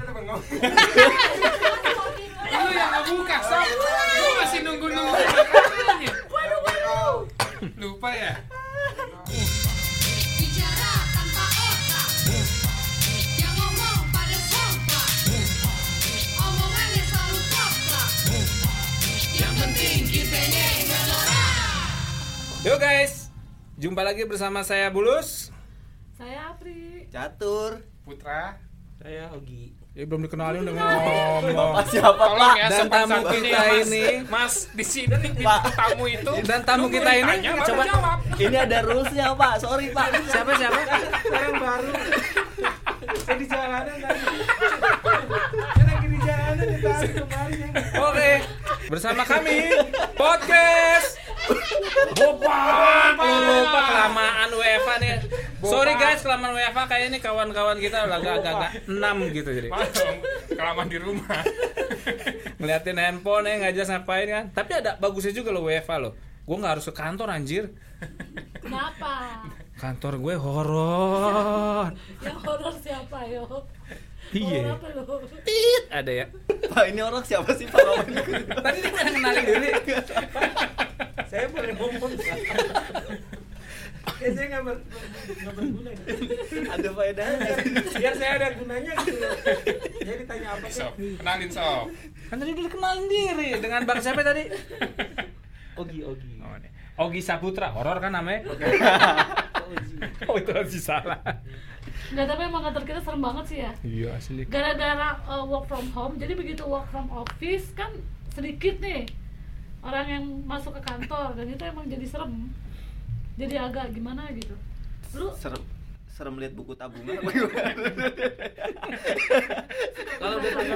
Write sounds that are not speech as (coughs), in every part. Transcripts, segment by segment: ngomong. Lu yang ngebuka, sob. Lu masih nunggu-nunggu. iya, Lupa ya? Bicara tanpa otak Yang ngomong pada sontak Omongannya selalu koplak Yang penting kitanya nggak norak Yo guys, jumpa lagi bersama saya Bulus. Saya Apri. Catur. Putra. Saya Ogi. Ya belum dikenalin udah ngomong. Bapak siapa, Tolong Pak? ya, Dan sempat tamu satu kita ya, Mas. ini. Mas, di sini tamu itu Dan tamu nunggu kita ini, ditanya, baru coba- jawab. Ini ada rulesnya, Pak. Sorry, Pak. Siapa siapa? Orang baru. Saya di jalanan tadi. Saya lagi di jalanan di tadi kemarin. Oke, bersama kami podcast Bopak. Lu lupa kelamaan WFA nih. Sorry guys, kelamaan WFA kayaknya ini kawan-kawan kita udah agak-agak 6 gitu jadi. Malam, kelamaan di rumah. Ngeliatin handphone ya nggak jelas ngapain kan. Tapi ada bagusnya juga lo WFA lo. Gue nggak harus ke kantor anjir. Kenapa? Kantor gue horor. Yang horor siapa yo? Iya. Horor apa lu? Tit ada ya. Pak, ini orang siapa sih, Pak? Ngomong ikutin. Tadi dia kan kenalin diri. Saya boleh ngomong. nggak? Kayak saya nggak ber- nggak berguna. gitu. Ada faedahnya. Biar saya ada gunanya gitu. loh. Saya ditanya apa sih? Sob, kenalin sob. Kan tadi udah kenalin diri dengan bang siapa tadi? Ogi Ogi. Oh, ini. Ogi Saputra, horor kan namanya? Ogi. Oh itu harus salah. Nggak tapi emang kantor kita serem banget sih ya. Iya asli. Gara-gara uh, work from home, jadi begitu work from office kan sedikit nih orang yang masuk ke kantor dan itu emang jadi serem. Jadi agak gimana gitu. Lu Serem. Serem lihat buku tabungan apa gimana? eh, Kalau udah tanya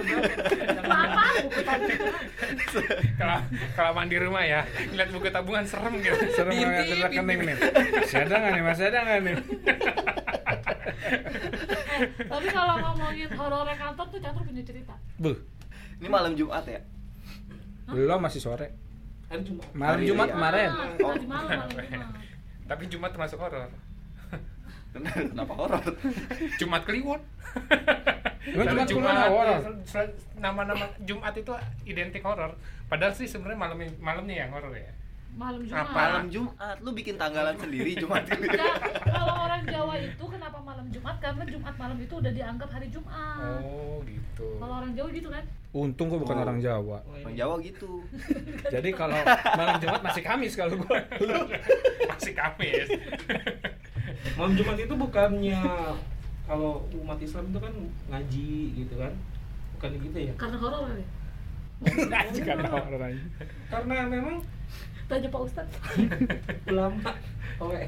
apa? Kela- kelamaan di rumah ya. Lihat buku tabungan serem gitu. Serem banget ada rekening nih. Masih ada nggak nih? Masih ada nggak nih? Tapi kalau ngomongin horor kantor tuh catur punya cerita. Bu, Ini malam Jumat ya? belum masih sore. Hari Jumat. Malam Hari Jumat ya. kemarin. Ah, Oh. tadi malam malam Jumat. Tapi Jumat termasuk horor. Kenapa horor? Jumat Kliwon. Lu Lalu Jumat Kliwon nggak horor? sel- Nama-nama Jumat itu identik horor. Padahal sih sebenarnya malam malamnya yang horor ya. Malam Jumat. Apa? Malam Jumat lu bikin tanggalan sendiri Jumat ini. Enggak, Nah, kalau orang Jawa itu kenapa malam Jumat? Karena Jumat malam itu udah dianggap hari Jumat. Oh, gitu. Kalau orang Jawa gitu kan? Untung gua bukan Oh. orang Jawa. Orang Jawa gitu. Jadi kalau malam Jumat masih Kamis kalau gua. Masih Kamis. Malam Jumat itu bukannya kalau umat Islam itu kan ngaji gitu kan? Bukan gitu ya? Karena horor kali. ya? Ngaji karena horor aja. Karena memang Tanya Pak Ustadz. ulama oleh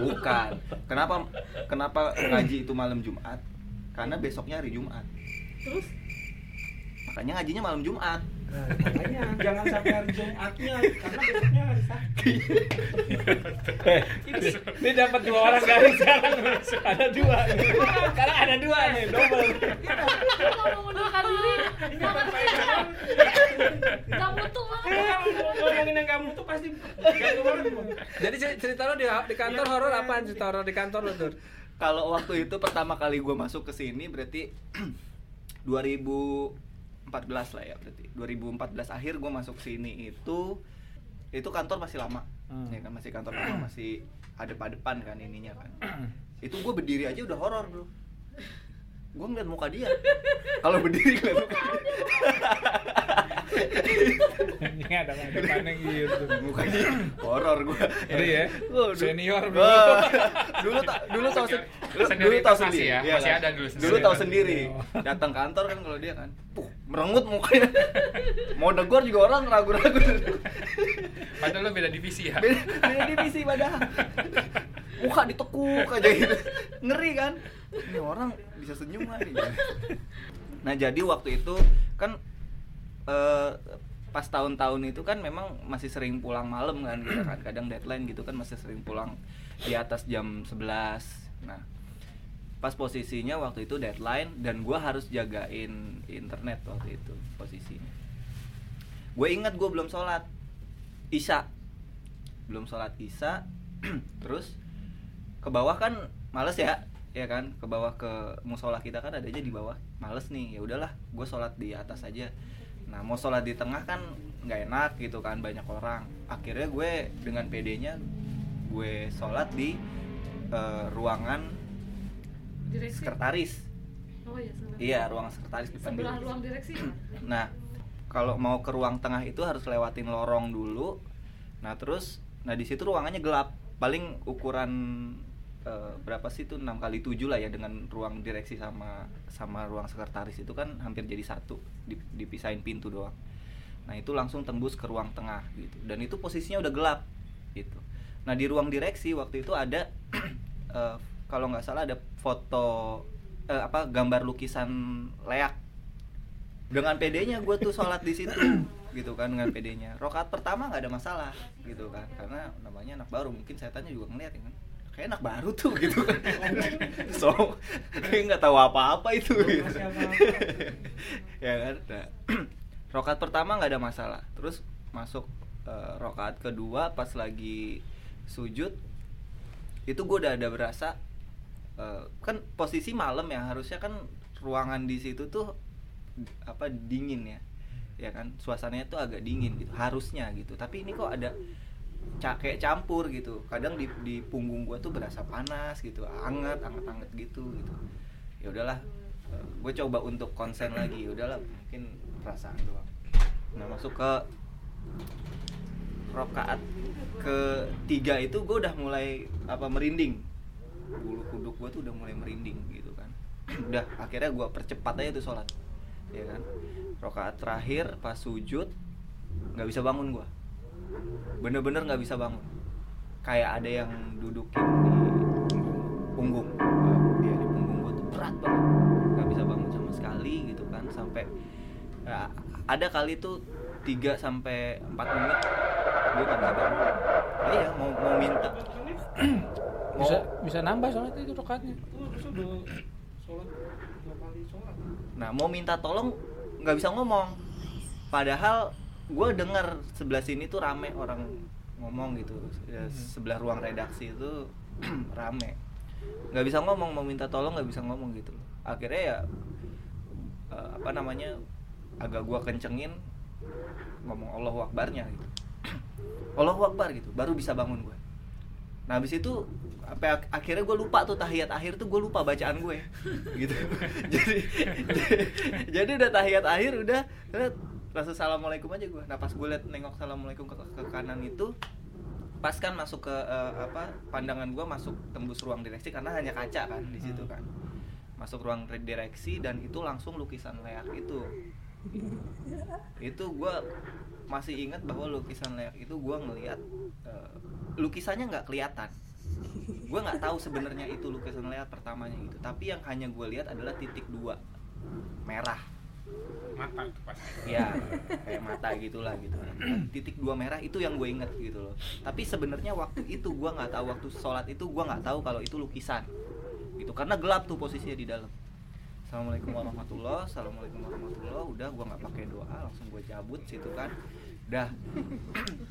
Bukan. Kenapa kenapa ngaji itu malam Jumat? Karena besoknya hari Jumat. Terus Makanya ngajinya malam Jumat. Nah, makanya jangan sampai hari Jumatnya karena besoknya hari Sabtu. Eh, Ini, ini dapat dua orang dari sekarang. Ada dua. nih. Sekarang ada dua nih, double. lu nggak mau mundurkan diri? Jangan kan? Gak mutu banget. Eh, Ngomongin yang kamu tuh pasti gak banget Bu. Jadi cer- cerita lo di, di kantor horor apaan cerita horor di kantor lo tuh? Kalau waktu itu pertama kali gue masuk ke sini berarti (clears throat) 2014 lah ya berarti 2014 akhir gue masuk sini itu itu kantor masih lama Hmm. ya kan masih kantor lama masih adep-adepan kan ininya kan itu gue berdiri aja udah horor bro gue ngeliat muka dia kalau berdiri ngeliat muka dia. Ini ada depannya gitu. muka dia horor gue Ngeri ya? Senior, bro. (laughs) dulu tak dulu tahu sen- dulu- dulu Senioritas tahu masih sendiri ya, iya masih kan? ada dulu Oh. dulu tahu senioritas. sendiri datang kantor kan kalau dia kan puh merengut mukanya mau negor juga orang ragu-ragu Padahal lo beda divisi ya. beda beda divisi padahal muka ditekuk aja gitu ngeri kan ini orang bisa senyum lagi nah jadi waktu itu kan eh, pas tahun-tahun itu kan memang masih sering pulang malam kan gitu kan kadang deadline gitu kan masih sering pulang di atas jam 11 nah pas posisinya waktu itu deadline dan gua harus jagain internet waktu itu posisinya gue ingat gue belum sholat isya (clears throat) belum sholat isya terus ke bawah kan males ya ya kan ke bawah ke musola kita kan ada aja di bawah males nih ya udahlah gue sholat di atas aja nah mau sholat di tengah kan nggak enak gitu kan banyak orang akhirnya gue dengan pedenya gue sholat di eh, ruangan direksi sekretaris oh iya sebelah iya ruangan sekretaris di sebelah ruang direksi ya? Nah, kalau mau ke ruang tengah itu harus lewatin lorong dulu. Nah, terus nah di situ ruangannya gelap. Paling ukuran eh, berapa sih itu 6 kali 7 lah ya dengan ruang direksi sama sama ruang sekretaris itu kan hampir jadi satu, dip- dipisahin pintu doang. Nah, itu langsung tembus ke ruang tengah gitu. Dan itu posisinya udah gelap gitu. Nah, di ruang direksi waktu itu ada (clears throat) eh, kalau nggak salah ada foto eh, apa gambar lukisan leak dengan PD-nya gue tuh sholat di situ gitu kan dengan PD-nya rokat pertama nggak ada masalah gitu kan karena namanya anak baru mungkin setannya juga ngeliat ya kan kayak anak baru tuh gitu (laughs) kan so kayak nggak tahu apa-apa itu gitu. Masih apa-apa. (laughs) ya kan Nah, (clears throat) rokat pertama nggak ada masalah terus masuk eh, rokat kedua pas lagi sujud itu gue udah ada berasa eh, kan posisi malam ya harusnya kan ruangan di situ tuh apa dingin ya ya kan suasananya tuh agak dingin gitu harusnya gitu tapi ini kok ada ca- kayak campur gitu kadang di, di punggung gue tuh berasa panas gitu anget anget anget gitu gitu ya udahlah gue coba untuk konsen lagi ya udahlah mungkin perasaan doang nah masuk ke rokaat ketiga itu gue udah mulai apa merinding bulu kuduk gue tuh udah mulai merinding gitu kan (clears throat) udah akhirnya gue percepat aja tuh sholat ya kan rokaat terakhir pas sujud nggak bisa bangun gue bener-bener nggak bisa bangun kayak ada yang dudukin di punggung dia di punggung gue tuh berat banget nggak bisa bangun sama sekali gitu kan sampai ya, ada kali tuh 3 sampai 4 menit gue nggak bisa bangun iya mau mau minta mau Bisa bisa nambah soalnya itu rokatnya. Wah, terus udah sholat dua kali sholat. Nah mau minta tolong nggak bisa ngomong. Padahal gue dengar sebelah sini tuh rame orang ngomong gitu. Ya, sebelah ruang redaksi itu (clears throat) rame. Nggak bisa ngomong mau minta tolong nggak bisa ngomong gitu. Akhirnya ya eh, apa namanya agak gue kencengin ngomong Allah Akbarnya gitu. (clears throat) Allah Akbar gitu. Baru bisa bangun gue. Nah habis itu sampai ak- akhirnya gue lupa tuh tahiyat akhir tuh gue lupa bacaan gue gitu jadi (laughs) jadi udah tahiyat akhir udah terus langsung assalamualaikum aja gue nah pas gue liat nengok assalamualaikum ke, ke kanan itu pas kan masuk ke eh, apa pandangan gue masuk tembus ruang direksi karena hanya kaca kan di situ kan masuk ruang direksi dan itu langsung lukisan leak itu itu gue masih ingat bahwa lukisan leak itu gue ngelihat eh, lukisannya nggak kelihatan gue nggak tahu sebenarnya itu lukisan leak pertamanya gitu tapi yang hanya gue lihat adalah titik dua merah mata itu pasti ya kayak mata gitulah gitu (clears throat) titik dua merah itu yang gue inget gitu loh tapi sebenarnya waktu itu gue nggak tahu waktu sholat itu gue nggak tahu kalau itu lukisan gitu karena gelap tuh posisinya di dalam assalamualaikum warahmatullah assalamualaikum warahmatullah udah gue nggak pakai doa langsung gue cabut situ kan udah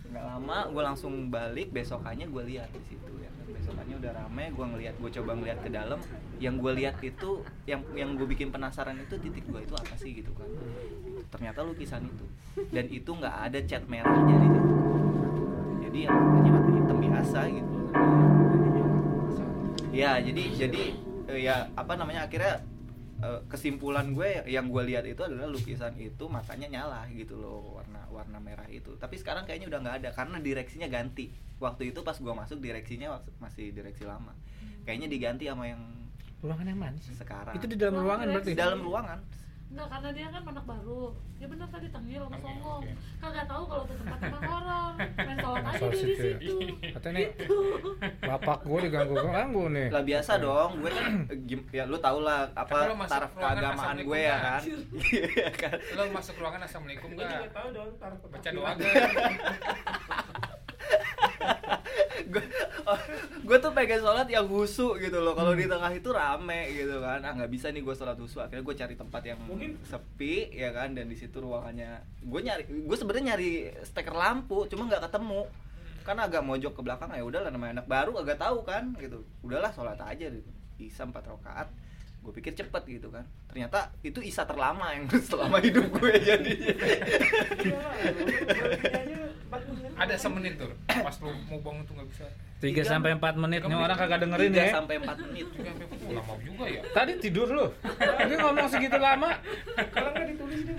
nggak lama gue langsung balik besokannya gue lihat di situ ya kan. besokannya udah rame gue ngelihat gue coba ngelihat ke dalam yang gue lihat itu yang yang gue bikin penasaran itu titik gue itu apa sih gitu kan ternyata lukisan itu dan itu nggak ada cat merahnya di situ jadi yang hanya mata hitam biasa gitu ya jadi jadi eh, ya apa namanya akhirnya eh, kesimpulan gue yang gue lihat itu adalah lukisan itu matanya nyala gitu loh warna warna merah itu tapi sekarang kayaknya udah nggak ada karena direksinya ganti waktu itu pas gue masuk direksinya wak- masih direksi lama kayaknya diganti sama yang Ruangan yang mana sih? sekarang Itu di dalam ruangan berarti. di dalam ruangan Enggak, karena dia kan anak baru. Ya benar tadi tengil sama Tengil, songong. oke. Kagak tahu kalau itu tempat tempat orang. Main sholat aja Sholat dia di situ ya. situ. Gitu. Katanya nih, bapak gue diganggu-ganggu Eh, nih. lah biasa dong gue kan eh, gim- ya lu tau lah Tapi apa lu masuk taraf ruangan keagamaan asal gue ya lingkungan. kan (laughs) Iya kan lo masuk ruangan assalamualaikum Gue juga gak tahu dong taruh ke baca doa kaki. gak gue (laughs) gue tuh pengen sholat yang husu gitu loh kalau di tengah itu rame gitu kan ah nggak bisa nih gue sholat husu akhirnya gue cari tempat yang Mungkin- sepi ya kan dan di situ ruangannya gue nyari gue sebenarnya nyari steker lampu cuma nggak ketemu kan agak mojok ke belakang ya udahlah namanya anak baru agak tahu kan gitu udahlah sholat aja gitu isa empat rakaat gue pikir cepet gitu kan ternyata itu isa terlama yang (laughs) selama hidup gue jadinya Iya, Ada semenit tuh. Pas lu mau bangun tuh nggak bisa. 3 sampai 4 menit nih orang kagak dengerin Tiga ya. sampai empat menit Tiga sampai pukul. lama juga ya. Tadi tidur lu. Ini ngomong segitu lama. Kalau nggak ditulis deh.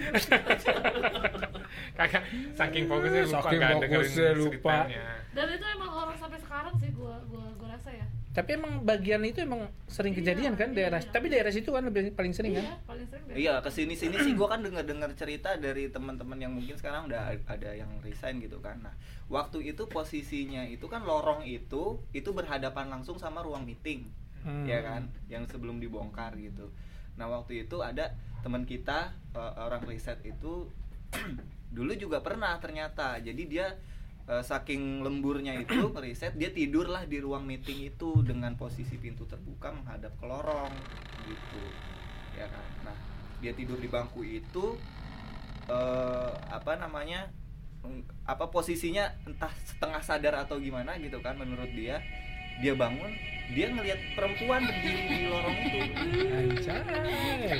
Kagak saking fokusnya lupa Saking kan nggak fokusnya lupa. ceritanya. Dan itu emang orang sampai sekarang sih gua gua gua rasa ya. Tapi emang bagian itu emang sering Iya, kejadian kan iya. daerah. Tapi daerah situ kan lebih paling sering kan. Iya, paling sering deh. Iya, kesini sini sih gue kan denger dengar cerita dari teman-teman yang mungkin sekarang udah ada yang resign gitu kan. Nah, waktu itu posisinya itu kan lorong itu itu berhadapan langsung sama ruang meeting, Hmm. ya kan, yang sebelum dibongkar gitu. Nah waktu itu ada teman kita eh, orang riset itu (clears throat) dulu juga pernah ternyata. Jadi dia eh, saking lemburnya itu riset dia tidurlah di ruang meeting itu dengan posisi pintu terbuka menghadap ke lorong gitu ya kan nah dia tidur di bangku itu eh apa namanya eng- apa posisinya entah setengah sadar atau gimana gitu kan menurut dia dia bangun dia ngelihat perempuan berdiri di lorong (laughs) itu Anjay.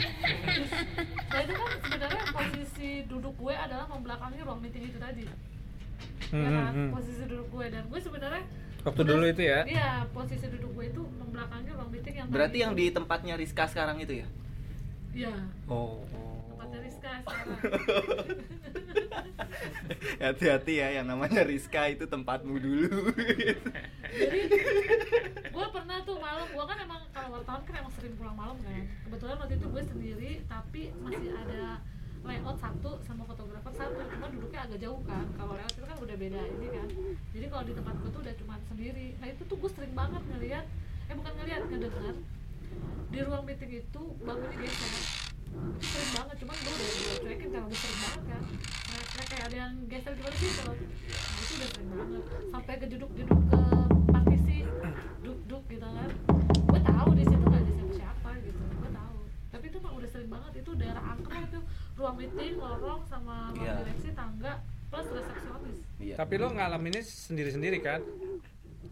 Nah, itu kan sebenarnya posisi duduk gue adalah membelakangi ruang meeting itu tadi. Hmm, Ya hmm, kan? hmm. Posisi duduk gue dan gue sebenarnya Waktu dulu itu ya. Iya, posisi duduk gue itu membelakangi ruang meeting yang berarti tadi yang itu. di tempatnya Rizka sekarang itu ya Iya, oh tempatnya Rizka sekarang. (laughs) hati-hati ya yang namanya Rizka itu tempatmu (laughs) dulu Jadi gue pernah tuh malam, gue kan emang kalau wartawan kan emang sering pulang malam kan. Kebetulan waktu itu gue sendiri, tapi masih ada layout satu sama fotografer satu, cuma duduknya agak jauh kan. Kalau layout itu kan udah beda ini kan. Jadi kalau di tempat gue tuh udah cuma sendiri. Nah itu tuh gue sering banget ngeliat, eh bukan ngeliat, ngedengar di ruang meeting itu bangunnya geser itu sering banget cuman gue udah gue cuekin karena udah sering banget kan Kayak- kayak kayak ada yang geser gimana sih kalau nah, itu udah sering banget sampai ke duduk duduk ke partisi duduk duduk gitu kan gue tahu di situ gak ada siapa siapa gitu gue tahu tapi itu mah udah sering banget itu daerah angker itu ruang meeting lorong sama ruang Iya. direksi tangga plus resepsionis iya Tapi lo ngalaminnya sendiri-sendiri kan?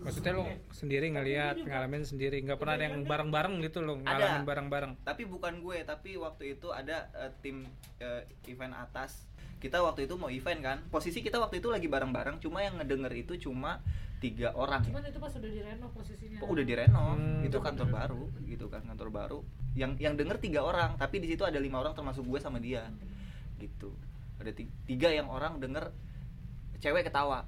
Maksudnya lo sendiri ngelihat, ngalamin sendiri, nggak pernah ada yang bareng-bareng gitu lo ngalamin Ada. bareng-bareng. tapi bukan gue tapi waktu itu ada eh, tim eh, event atas kita waktu itu mau event kan posisi kita waktu itu lagi bareng-bareng cuma yang ngedenger itu cuma tiga orang cuman itu pas udah direnov posisinya Kok udah direnov Hmm. itu kantor baru gitu kan kantor baru yang yang denger tiga orang tapi di situ ada lima orang termasuk gue sama dia gitu ada ti- tiga yang orang denger cewek ketawa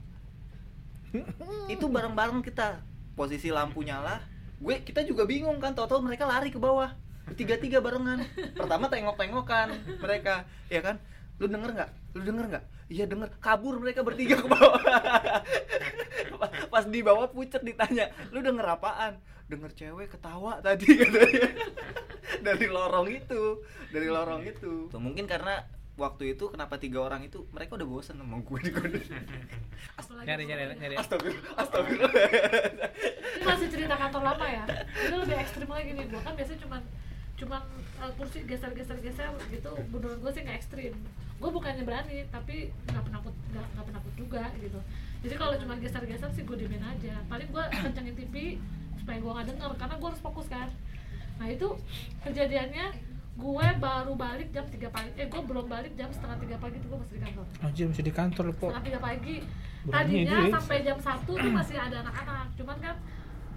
itu bareng-bareng kita posisi lampu nyala gue kita juga bingung kan tau-tau mereka lari ke bawah tiga-tiga barengan pertama tengok-tengokan mereka ya kan lu denger nggak lu denger nggak iya denger kabur mereka bertiga ke bawah (laughs) pas di bawah pucet ditanya lu denger apaan denger cewek ketawa tadi (laughs) katanya. dari lorong itu dari lorong itu Tuh, mungkin karena waktu itu kenapa tiga orang itu mereka udah bosen sama gue di (laughs) Apalagi Nyari, nyari, kalau- nyari. Astagfirullah, astagfirullah. ini masih cerita kantor lama ya itu lebih ekstrim lagi nih gua kan biasanya cuman cuman uh, kursi geser geser geser gitu beneran gue sih nggak ekstrim gue bukannya berani tapi nggak penakut nggak nggak penakut juga gitu jadi kalau cuma geser geser sih gue diemin aja paling gue kencengin tv supaya gue nggak denger karena gue harus fokus kan nah itu kejadiannya gue baru balik jam 3 pagi eh gue belum balik jam setengah tiga pagi tuh gue masih di kantor Anjir masih di kantor lo po. setengah tiga pagi Berani tadinya aja ya. sampai jam satu tuh masih ada anak-anak cuman kan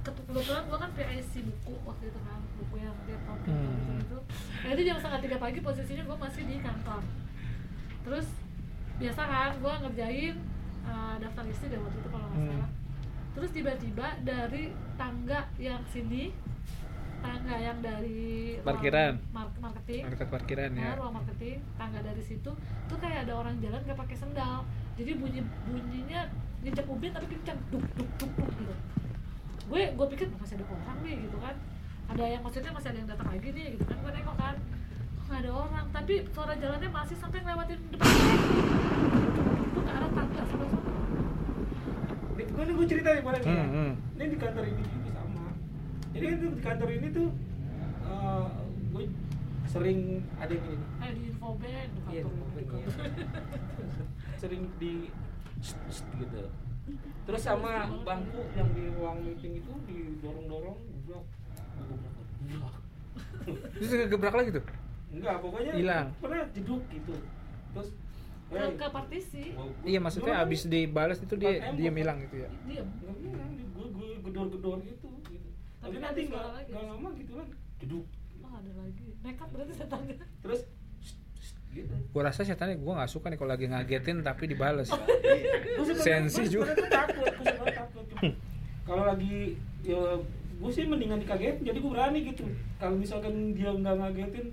ketu- kebetulan gua kan PIC buku waktu itu kan buku yang dia pocket Hmm. itu nah itu jam setengah tiga pagi posisinya gua masih di kantor terus biasa kan gua ngerjain uh, daftar isi deh waktu itu kalau nggak Hmm. salah terus tiba-tiba dari tangga yang sini tangga yang dari ruang Parkiran. mark- marketing Dekat parkiran Nah, ya. ruang marketing, tangga dari situ tuh kayak ada orang jalan nggak pakai sendal. Jadi bunyi bunyinya nginjak ubin tapi kencang duk duk duk duk gitu. Gue gue pikir masih ada orang nih gitu kan. Ada yang maksudnya masih ada yang datang lagi nih gitu kan. Gue nengok kan kok nggak ada orang tapi suara jalannya masih sampai ngelewatin depan gue. Duk-duk-duk-duk ke arah tangga sampai sana. Ini gue nih gue cerita nih boleh nggak ya? Hmm, hmm. Ini di kantor ini juga sama. Jadi kan tuh di kantor ini tuh eh, gue sering ada yang gini. Kayak Eh, di info band. Iya, di mobil, iya. sering di shh, shh, gitu terus sama bangku yang di ruang meeting itu didorong-dorong blok Terus kegebrak lagi tuh. enggak pokoknya Hilang. pernah jeduk gitu terus ke, eh, ke partisi gua- gua- Iya maksudnya gua- abis dibales itu dia dia hilang gitu ya. diem Nggak bilang, gue gue gedor-gedor gitu, gitu. Tapi tapi kan nanti ada suara nggak lagi. nggak lama gitu kan jeduk oh ada lagi nekat berarti setannya terus sst, sst, gitu Gua rasa setannya gua nggak suka nih kalau lagi ngagetin tapi dibales. Gua sebenarnya- Sensi gua juga. sebenarnya takut gua sebenarnya takut Cuma (laughs) kalau lagi ya gue sih mendingan dikagetin jadi gue berani gitu kalau misalkan dia nggak ngagetin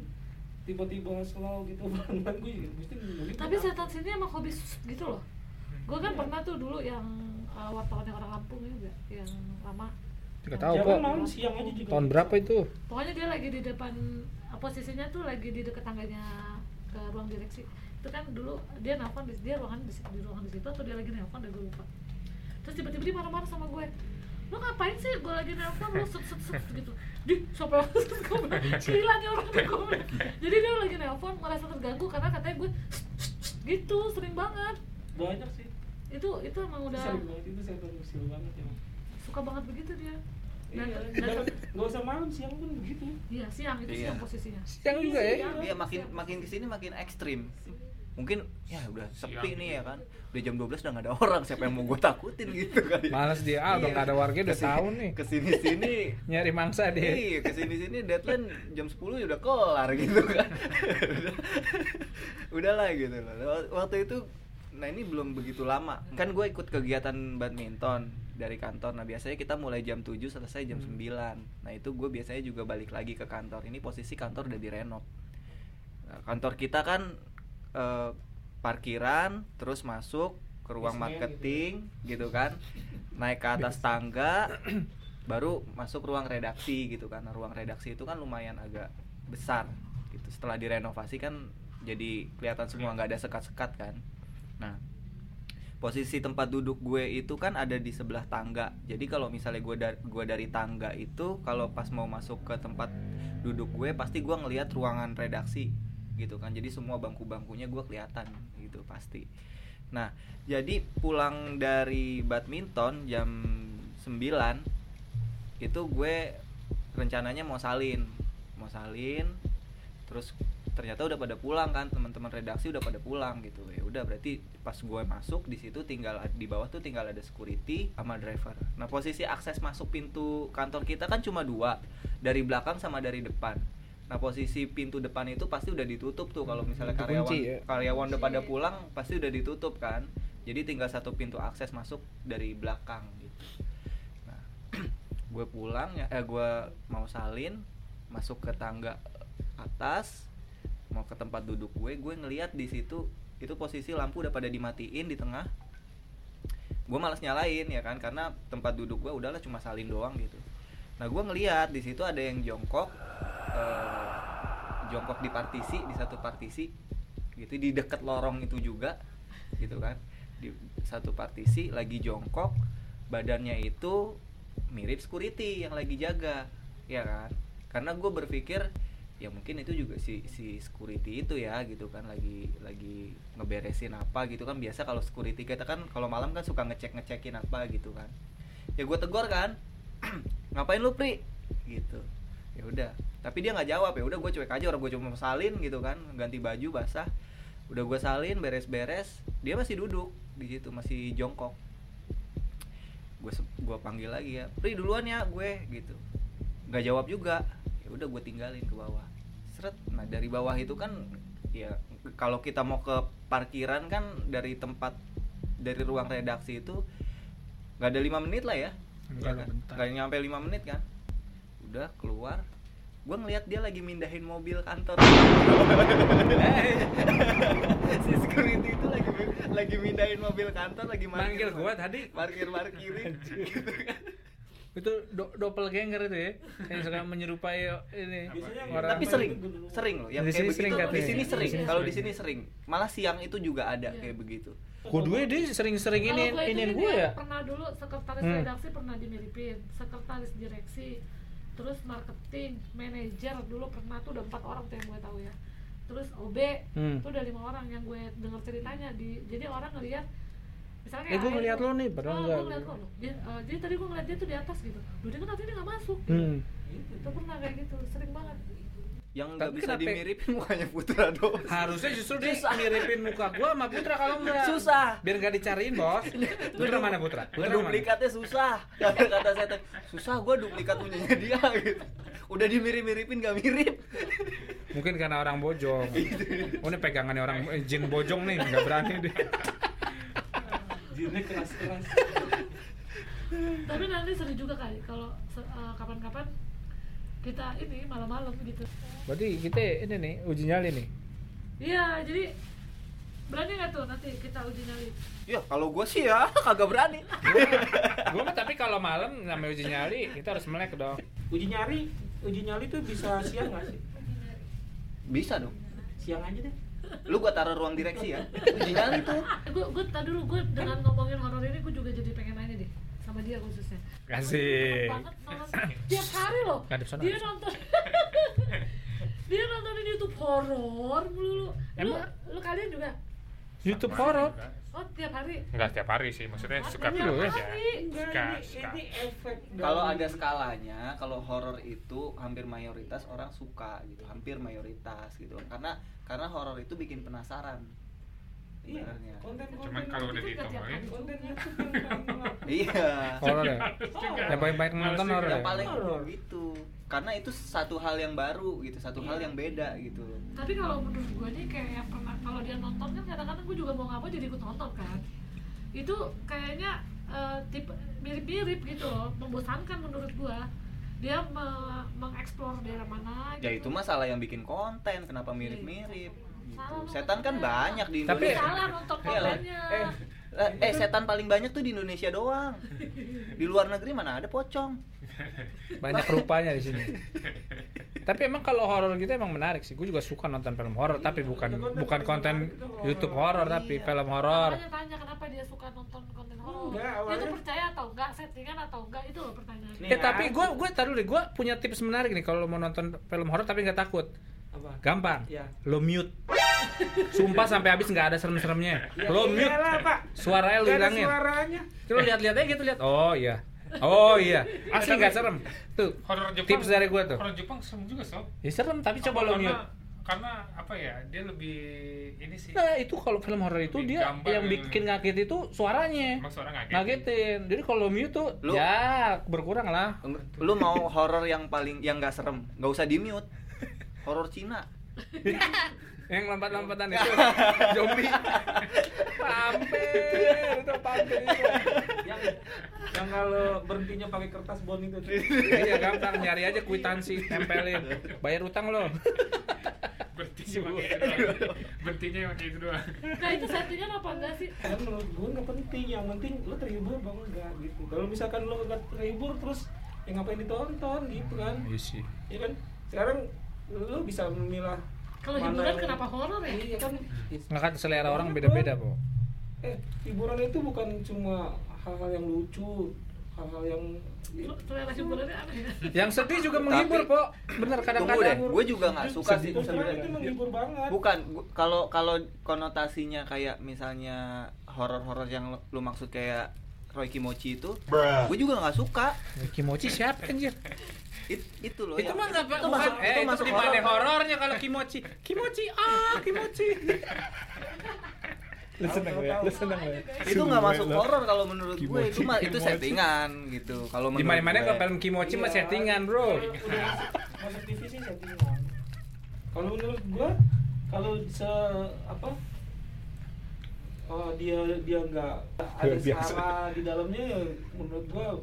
tiba-tiba slow gitu (laughs) berantakan gue ya mesti nungguin. tapi setan sini emang hobi sus- gitu loh gue Iya. kan pernah tuh dulu yang uh, wartawan yang orang Lampung juga yang lama Nggak Yang tahu Jangan kok. malam siang aja juga Tahun berapa itu? pokoknya dia lagi di depan eh, posisinya tuh lagi di dekat tangganya ke ruang direksi itu kan dulu dia nelfon di dia ruangan di, di ruangan di situ atau dia lagi nelfon dan gue lupa terus tiba-tiba dia marah-marah sama gue lo ngapain sih gue lagi nelfon lo set set set gitu di siapa yang set gue bilang, gila nih orang gue bilang. jadi dia lagi nelfon merasa terganggu karena katanya gue set, set, set gitu sering banget banyak sih itu itu emang udah sering banget itu setan usil banget ya suka banget begitu dia dan, Iya, dan nggak- nggak usah malam siang pun begitu iya siang itu Iya. siang posisinya Siang juga ya. dia Iya, makin makin kesini makin ekstrim mungkin ya udah sepi nih ya kan udah jam 12 udah gak ada orang siapa yang mau gue takutin gitu kali Males dia, ah udah Iya. nggak ada warga udah Kesini- tahun nih. kesini sini Nyari mangsa dia. iya kesini sini deadline jam 10 ya udah kelar gitu kan udahlah gitu loh waktu itu nah ini belum begitu lama kan gue ikut kegiatan badminton dari kantor nah biasanya kita mulai jam 7 selesai jam 9 nah itu gue biasanya juga balik lagi ke kantor ini posisi kantor udah direnov Nah, kantor kita kan eh, parkiran terus masuk ke ruang Basement gitu. marketing gitu kan naik ke atas tangga baru masuk ruang redaksi gitu kan Nah, ruang redaksi itu kan lumayan agak besar gitu setelah direnovasi kan jadi kelihatan semua nggak ada sekat-sekat kan nah posisi tempat duduk gue itu kan ada di sebelah tangga jadi kalau misalnya gue dari gue dari tangga itu kalau pas mau masuk ke tempat duduk gue pasti gue ngelihat ruangan redaksi gitu kan jadi semua bangku-bangkunya gue kelihatan gitu pasti nah jadi pulang dari badminton jam 9 itu gue rencananya mau salin mau salin terus ternyata udah pada pulang kan teman-teman redaksi udah pada pulang gitu ya udah berarti pas gue masuk di situ tinggal di bawah tuh tinggal ada security sama driver nah posisi akses masuk pintu kantor kita kan cuma dua dari belakang sama dari depan nah posisi pintu depan itu pasti udah ditutup tuh kalau misalnya Itu karyawan kunci ya. karyawan udah pada Kunci. pulang pasti udah ditutup kan jadi tinggal satu pintu akses masuk dari belakang gitu nah (clears throat) gue pulang ya eh gue mau salin masuk ke tangga atas mau ke tempat duduk gue gue ngeliat di situ itu posisi lampu udah pada dimatiin di tengah gue malas nyalain ya kan karena tempat duduk gue udahlah cuma salin doang gitu nah gue ngeliat di situ ada yang jongkok eh, jongkok di partisi di satu partisi gitu di deket lorong itu juga gitu kan di satu partisi lagi jongkok badannya itu mirip security yang lagi jaga ya kan karena gue berpikir ya mungkin itu juga si si security itu ya gitu kan lagi lagi ngeberesin apa gitu kan biasa kalau security kita kan kalau malam kan suka ngecek ngecekin apa gitu kan ya gue tegur kan (clears throat) ngapain lu pri gitu ya udah tapi dia nggak jawab ya udah gue cuek aja orang gue cuma mau salin gitu kan ganti baju basah udah gue salin beres-beres dia masih duduk di situ masih jongkok gue gua panggil lagi ya pri duluan ya gue gitu nggak jawab juga ya udah gue tinggalin ke bawah seret nah dari bawah itu kan ya kalau kita mau ke parkiran kan dari tempat dari ruang redaksi itu nggak ada lima menit lah ya Enggak Ya lah, kan? bentar. nggak nyampe lima menit kan udah keluar gue ngeliat dia lagi mindahin mobil kantor Eh, (laughs) si security itu lagi lagi mindahin mobil kantor lagi Manggil gua tadi. parkir (laughs) parkirin gitu kan Itu do doppelganger itu ya. Yang suka menyerupai Biasanya ini yang- orang. gitu tapi sering sering loh yang Di sini kayak sering begitu tuh di katanya. sini Di sering sini kalau di sering. sini sering malah siang itu juga ada Iya. kayak begitu Kudunya dia sering-sering ini Kalau gua itu ini kan gue dia ya. Pernah dulu sekretaris Hmm. redaksi pernah dimiripin, sekretaris direksi, terus marketing, manajer dulu pernah tuh udah empat orang tuh yang gue tahu ya. Terus OB Hmm. tuh udah lima orang yang gue dengar ceritanya di. Jadi orang ngeliat misalnya Eh, gua akhirnya ngeliat gua- lo nih, padahal Ah, gua enggak. ngeliat lo, loh. Dia, eh, jadi tadi gue ngeliat dia tuh di atas gitu Duh dia kan artinya dia nggak masuk Hmm. Itu pernah kayak gitu, sering banget Yang nggak Tapi bisa kenapa- dimiripin (laughs) mukanya Putra doang. Harusnya justru dia miripin muka gua sama Putra kalau enggak. Susah. Biar enggak dicariin, (laughs) Bos. Putra mana (laughs) Putra? Putra mana? Duplikatnya susah. Kata kata saya tadi, susah gua duplikat punyanya dia (laughs) gitu. Udah dimirip-miripin nggak mirip. (laughs) Mungkin karena orang (laughs) bojong. Gitu. Oh, ini pegangannya orang eh, jin bojong nih, enggak berani deh. Jinnya keras-keras. Tapi nanti seru juga kali kalau se- eh, kapan-kapan kita ini malam-malam gitu Berarti kita ini nih uji nyali nih. Iya, jadi berani nggak tuh nanti kita uji nyali? Ya kalau gua sih ya kagak berani. (laughs) Gua mah tapi kalau malam namanya uji nyali, kita harus melek dong. (laughs) Uji nyari, uji nyali tuh bisa siang nggak sih? Bisa dong. Siang aja deh. Lu gua taruh ruang direksi ya. Jangan tuh. Gue gue tadi dulu gue dengan ngomongin horor ini gue juga jadi pengen nanya deh sama dia khususnya. Kasih. Banget nonton (coughs) tiap hari loh. Ngadep sana, Dia ngadep sana. nonton. (laughs) dia nontonin YouTube horor mulu. Lu, lu, Emang? lu kalian juga? YouTube horor. Oh tiap hari. Enggak tiap hari sih, maksudnya suka Tiap film aja. hari. Suka, Enggak, ini, suka. ini efek Kalau dari- ada skalanya, kalau horor itu hampir mayoritas orang suka gitu, hampir mayoritas gitu. Karena karena horor itu bikin penasaran. Iya, Sebenarnya. konten-konten. Cuman kalau udah Itu nggak tiap ditemuin hari. konten YouTube yang Oh. paling Iya. Horor ya. Yang paling banyak nonton horor ya. yang paling Horor. gitu karena itu satu hal yang baru gitu satu Iya. hal yang beda gitu Tapi kalau menurut gue nih kayak yang pernah kalau dia nonton kan kadang-kadang gue juga mau nggak mau jadi ikut nonton kan. Itu kayaknya eh, tipe mirip-mirip gitu loh, membosankan menurut gue. Dia me- mengeksplor daerah mana gitu. ya itu masalah yang bikin konten kenapa mirip-mirip gitu. Iya. Salah setan kan nontonnya. banyak di Tapi- Indonesia salah nonton Iya lah. kontennya. Eh, Lah, eh setan paling banyak tuh di Indonesia doang di luar negeri mana ada pocong Banyak rupanya di sini. Tapi emang kalau horor gitu emang menarik sih. Gue juga suka nonton film horor, tapi bukan bukan konten YouTube horor tapi film horor. Makanya tanya kenapa dia suka nonton konten horor. Enggak, Dia tuh awalnya- percaya atau enggak, settingan atau enggak itu loh pertanyaannya. Nih. Eh tapi gue gue taruh deh gue punya tips menarik nih kalau mau nonton film horor tapi nggak takut. apa? Gampang. Iya. Lo mute. Sumpah sampai habis nggak ada serem-seremnya. Iya, Lo mute. Iyalah, Ya, iya Pak. Suaranya lo Nggak ada hilangin. Suaranya. Terus lihat-lihat aja gitu lihat. Oh iya. Oh iya. Asli nggak serem. Tuh. Horor Jepang. Tips dari gua tuh. Horor Jepang serem juga, sob. Ya serem tapi coba Apa lo karena- mute. Karena apa ya? Dia lebih ini sih. Nah itu kalau film horor itu Lebih dia gambar yang gitu. bikin ngaget itu suaranya. Emang suara gitu? ngagetin. Ngagetin. Jadi kalau mute tuh Lu- ya berkurang lah. lu mau horor yang paling yang nggak serem nggak usah di mute horor Cina Yang lompat-lompatan (laughs) itu zombie. Pampir, itu pampir itu. Yang yang kalau berhentinya pakai kertas bon (laughs) itu. Iya gampang nyari aja kwitansi tempelin. Bayar utang lo. Bertinya pakai itu doang. Bertinya pakai itu doang. Nah itu settingan apa enggak sih? Kan menurut gue nggak penting, yang penting lu terhibur bang enggak gitu. Kalau misalkan lu nggak terhibur terus ya ngapain ditonton gitu kan? Iya sih. Iya kan? Sekarang lu bisa memilah Kalau mana hiburan yang- kenapa horor ya? Iya kan? Iya Ngangkat selera orang beda-beda, Po. Eh, hiburan itu bukan cuma hal-hal yang lucu, hal-hal yang Iya, Lu selera hiburannya aneh ya? Yang sedih juga menghibur, Tapi- Po. Bener tunggu deh kadang-kadang. gue juga nggak suka Sedih. sih Hiburan itu sebenarnya menghibur banget. Bukan, gu- kalau kalau konotasinya kayak misalnya horor-horor yang lu- lu maksud kayak Roy Kimochi itu, gue juga nggak suka. Kimochi siapa anjir? It- itu loh. itu yang- mah nggak ya. itu bukan masuk, eh, itu itu, masuk di mana horor. horornya kalau kimochi kimochi ah kimochi lu seneng ya lu seneng ya Itu nggak masuk horor kalau menurut gue. Itu mah itu Kimochi. settingan gitu. Kalau di menurut mana mana gue. kalau film kimochi mah Iya. settingan bro Kalau udah masuk- masuk TV sih settingan. Kalau menurut gua kalau se apa oh, dia dia nggak ada biasa. salah di dalamnya ya menurut gua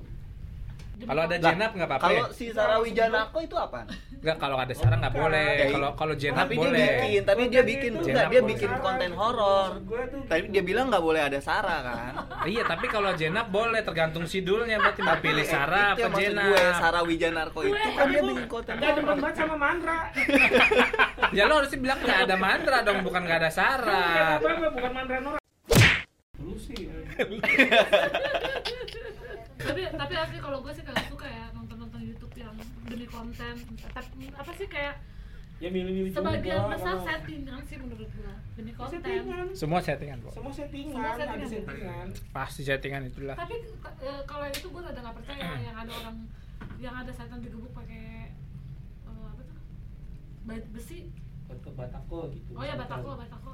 kalau ada Lah, jenap nggak apa-apa ya? Kalau si Sarah Wijanako itu apa? nggak kalau ada sarang nggak boleh Ya, i- Eh, kalau kalau jenap tapi boleh dia bikin, tapi dia bikin Jenap enggak, dia boleh. bikin Sarah konten gitu, horor. maksud gue tuh Tapi gitu. dia bilang nggak boleh ada Sarah kan? iya tapi kalau jenap boleh tergantung sidulnya berarti mau pilih Eh, sarah (laughs) itu yang apa maksud jenap gue, Sarah Wijanarko itu kan dia bikin konten nggak demen banget sama Mandra. (laughs) ya lo harusnya bilang nggak ada mantra dong bukan nggak ada sarah Apa apa bukan Mandra Nora. Lu sih. eh. tapi tapi asli kalau gue sih kagak suka ya nonton nonton YouTube yang demi konten tapi apa sih kayak ya milih-milih sebagian juga, besar kalau- settingan sih menurut gua demi konten settingan Semua settingan kok. semua settingan Semua ada settingan. settingan Pasti settingan itulah. tapi eh, kalau yang itu gua rada nggak percaya ya, yang ada orang yang ada setan digebuk pakai eh, apa tuh Ba- besi buat ke batako gitu oh ya batako batako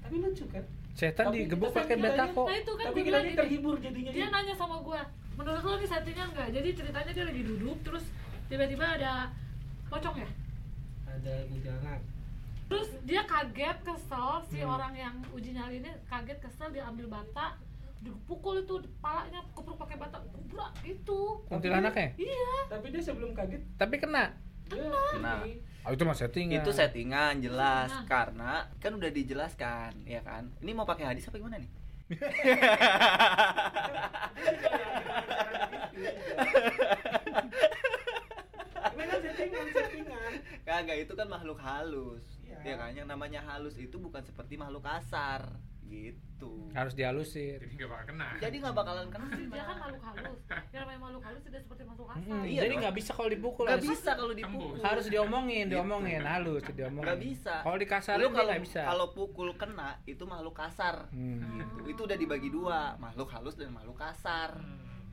tapi lucu kan Setan Tapi digebuk kita pakai settingan bata aja. kok. nah itu kan gua tapi kita bilang ini gini, terhibur jadinya gitu. dia nanya sama gua menurut lo ini settingan nggak jadi ceritanya dia lagi duduk terus tiba-tiba ada pocong ya ada gejala terus dia kaget kesel si Hmm. orang yang uji nyali ini kaget kesel dia ambil bata dipukul itu palanya kepruk pakai bata kubrak gitu ya? Kuntilanaknya. iya tapi dia sebelum kaget Tapi kena. dia Nah. ini. Oh, itu mah settingan. itu settingan jelas Settingan. karena kan udah dijelaskan ya kan ini mau pakai hadis apa gimana (laughs) nih (laughs) Nah. gitu. memang kan settingan settingan kagak itu kan makhluk halus Iya. ya kan yang namanya halus itu bukan seperti makhluk kasar gitu Harus dihalusin. jadi nggak bakal kena Nah, jadi nggak bakalan kena Terus dia kan makhluk halus yang namanya makhluk halus tidak seperti makhluk Oh, kasar Hmm, Iya jadi dong. nggak bisa kalau dipukul. nggak harus- bisa kalau dipukul Tembus. harus diomongin, Gitu. diomongin halus, diomongin. nggak bisa Kalau dikasarin Lu dia kalau nggak bisa. kalau pukul kena itu makhluk kasar Hmm. gitu itu udah dibagi dua makhluk halus dan makhluk kasar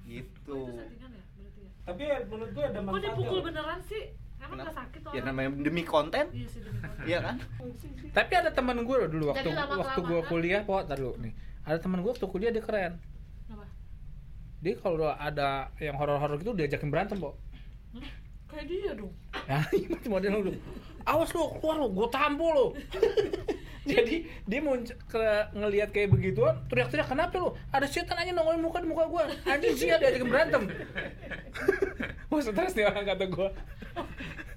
gitu Hmm. itu settingan ya berarti ya tapi ya, menurut gue ada kok manfaatnya dipukul loh. beneran sih emang Kenapa? nggak sakit ya orang namanya demi konten iya sih demi konten. (laughs) Iya kan? Tapi ada teman gue loh dulu waktu Jadi lama-kelamaan. waktu gue kuliah, po, ntar dulu nih. Ada teman gue waktu kuliah dia keren. Kenapa? Dia kalau ada yang horor-horor gitu diajakin berantem, (laughs) po. Hah? kayak dia dong Nah, itu model lu. Awas lu, keluar lu, gue tampol lu. (laughs) Jadi dia mau ke, ngelihat kayak begituan, teriak-teriak kenapa lu? Ada setan aja nongolin muka di muka gua. Anjing sih ada ajakin berantem. (laughs) Wah stres nih orang kata gua. (laughs)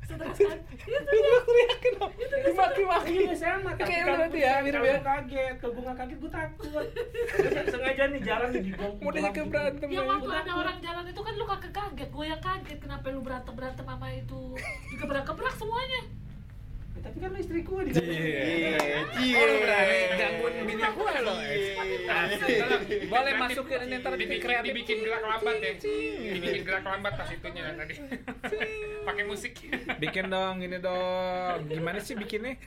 stres kan itu Gue teriakin loh. Dimaki-maki. Iya sama, tapi Kayak lu kalau berarti ya, misalnya mirip kalau ya. lu kaget, kalau gue gak kaget gue (laughs) takut Sengaja nih jalan nih digong Mau diajakin berantem. yang lagi. waktu ada orang jalan itu kan lu kagak kaget gue yang kaget kenapa lu berantem berantem sama itu digebrak-gebrak semuanya Ya, Tapi kan lu istri gue di Cie. Oh, lu berani iya. gangguin bini gua lo. Boleh Nanti masukin ini ntar di dibikin, kreatif. dibikin gerak lambat ya dibikin gerak lambat pas itunya tadi pakai musik Bikin dong, ini dong. Gimana sih bikinnya?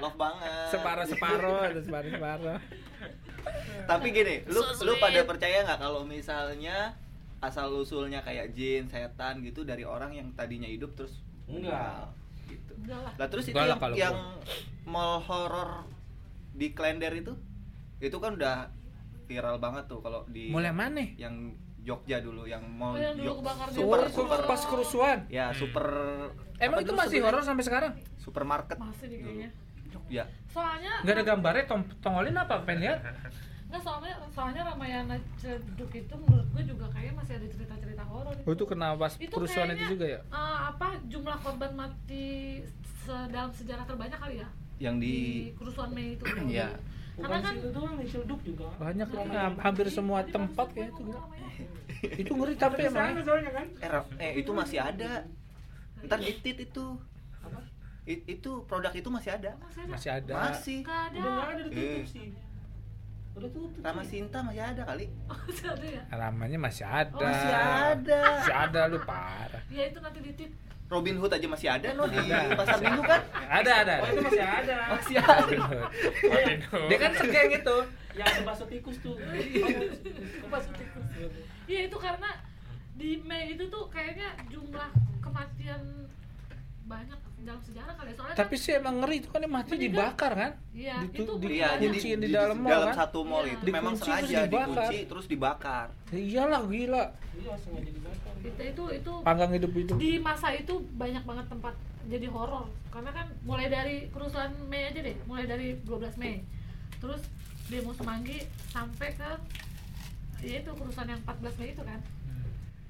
Love banget. Separo-separo, ada separo-separo. Tapi gini, lu lu pada percaya nggak kalau misalnya asal usulnya kayak jin, setan gitu dari orang yang tadinya hidup terus Enggak. meninggal, gitu. enggak lah Lah terus itu Enggak lah yang, kalau yang mall horor di Klender itu itu kan udah viral banget tuh kalau di Mulai mana? yang Jogja dulu yang mall Oh, yang dulu Jog- kebakar di super Oh, Bogor. super pas kerusuhan. ya super Emang apa itu dulu masih sebelumnya? horor sampai sekarang? supermarket masih nih dulu. Ya, kayaknya Jogja soalnya Gak ada gambarnya, tong tongolin apa? Pengen lihat? Nggak, soalnya soalnya Ramayana Ciledug itu menurut gue juga kayaknya masih ada cerita-cerita horor Oh itu kena pas Itu kerusuhan kayaknya, itu juga ya? eh, apa jumlah korban mati se- dalam sejarah terbanyak kali ya yang di di kerusuhan Mei (clears throat) itu Iya. karena kan itu doang nih celduk juga Banyak Nah, loh, iya. ha- hampir semua Jadi tempat maksud gue kayak itu. ngomong gila. Ramayana. Itu ngeri tapi Tapi sana emang. soalnya kan Eh, Raf, eh, itu masih ada. Ntar ditit itu. Apa? I- itu produk itu masih ada. masih ada Masih ada. Masih. Nggak ada Udah gak ada udah tutup Eh. sih Udah tutup Rama sih Sinta masih ada kali. (laughs) Masih ada ya Ramanya masih ada. Oh, masih ada. Masih ada lu parah. ya itu nanti ditip Robin Hood aja masih ada no di Iya. Ada. pasar minggu kan? Ada ada. Oh itu masih ada Masih ada. Waduh. (laughs) Dia kan segeng itu. Yang Ya, ada bakso tikus (laughs) tuh Bakso tikus ya itu karena di Mei itu tuh kayaknya jumlah kematian banyak dalam sejarah kali ya soalnya Tapi kan, sih emang ngeri itu kan dia mati Meninggal. dibakar kan? Iya, Ditu- itu di- Iya, jadi kunciin di jadi dalam mall, kan? satu mall Iya. itu memang Dikunci, terus sengaja dibakar. dikunci terus dibakar. Ya Iyalah gila. Iya sengaja dibakar itu kan itu, itu Panggang hidup itu. di masa itu banyak banget tempat jadi horor karena kan mulai dari kerusuhan Mei aja deh mulai dari 12 Mei terus demo Semanggi sampai ke ya itu kerusuhan yang 14 Mei itu kan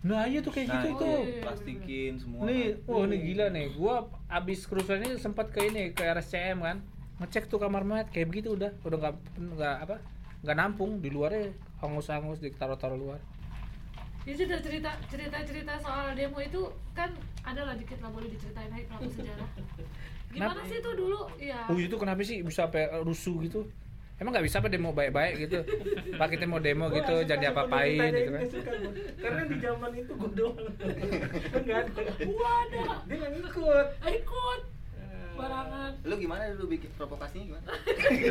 Nah, iya tuh kayak gitu Nah, itu itu. iya. plastikin semua. Nih, kan. wah ini gila nih. Gua abis kerusuhan ini sempat ke ini ke RSCM kan, ngecek tuh kamar mayat kayak begitu udah, udah nggak nggak apa, nggak nampung di luarnya hangus-hangus ditaruh-taruh luar. itu udah Ya cerita cerita cerita soal demo itu kan ada lah dikit lah boleh diceritain lagi pelaku (laughs) sejarah gimana Kenapa? sih itu dulu ya Ah. Oh itu kenapa sih bisa sampai rusuh gitu? Emang nggak bisa apa demo baik-baik (laughs) gitu? Pakai demo demo Gua gitu, nggak suka jadi sama apa-apain ditanya ini, gitu kan? nggak suka gua. Karena di zaman (laughs) itu gue doang Enggak ada gua ada Dia nggak ngikut ikut Eh, (laughs) sembarangan Lu gimana dulu bikin provokasinya gimana?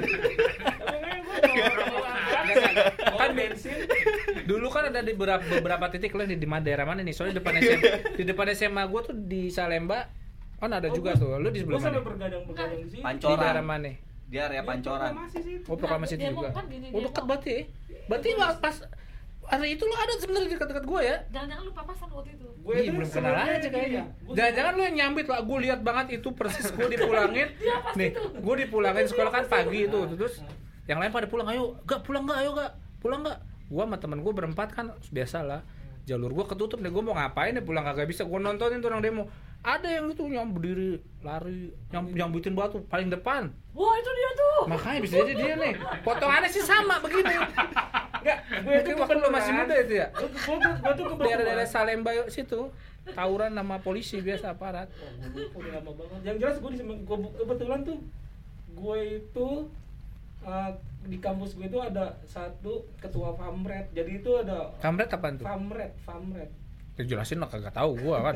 emang (laughs) aja gua kalau- kalau Kan kan bensin Dulu kan ada di beberapa, beberapa titik lo di, di daerah mana nih? Soalnya di depan SMA, di depan SMA gue tuh di Salemba kan ada Oh, juga gua- tuh. Lo di sebelah gua sampai mana? bergadang-begadang di sini Iya, Di daerah Pancoran. mana? Dia Ya, area pancoran. masih sih Oh, proklamasi itu Dia mau juga. kan gini, Oh, dia mau. dekat Iya. berarti ya. Berarti lo pas hari itu lo ada sebenarnya dekat-dekat gue ya? Jangan-jangan lu papasan waktu itu. gue Ih, belum kenal aja ya. kayaknya. Jangan-jangan lu yang nyambit lah, gue lihat banget itu persis gue (laughs) dipulangin. Dia pasti Nih, tuh. gue dipulangin sekolah Iya, kan pagi itu, terus yang lain pada pulang, ayo, gak pulang gak, ayo gak, pulang gak. Gue sama temen gue berempat kan biasa lah, jalur gue ketutup deh, gue mau ngapain deh pulang kagak bisa, gue nontonin tuh orang demo. Ada yang itu yang berdiri lari, yang yang bitin batu paling depan. Wah itu dia tuh. Makanya bisa jadi dia nih. Potongannya sih sama begini. Enggak, mungkin waktu lo masih muda itu ya. gue tuh gue tuh Daerah-daerah kebetulan Salemba yuk, situ tawuran sama polisi biasa aparat. Oh, udah lama banget yang jelas gue di Semeng- gua bu- kebetulan tuh gue itu uh, di kampus gue itu ada satu ketua famret jadi itu ada Kamret apaan tuh? famret famret Ya jelasin lah kagak tahu gua kan.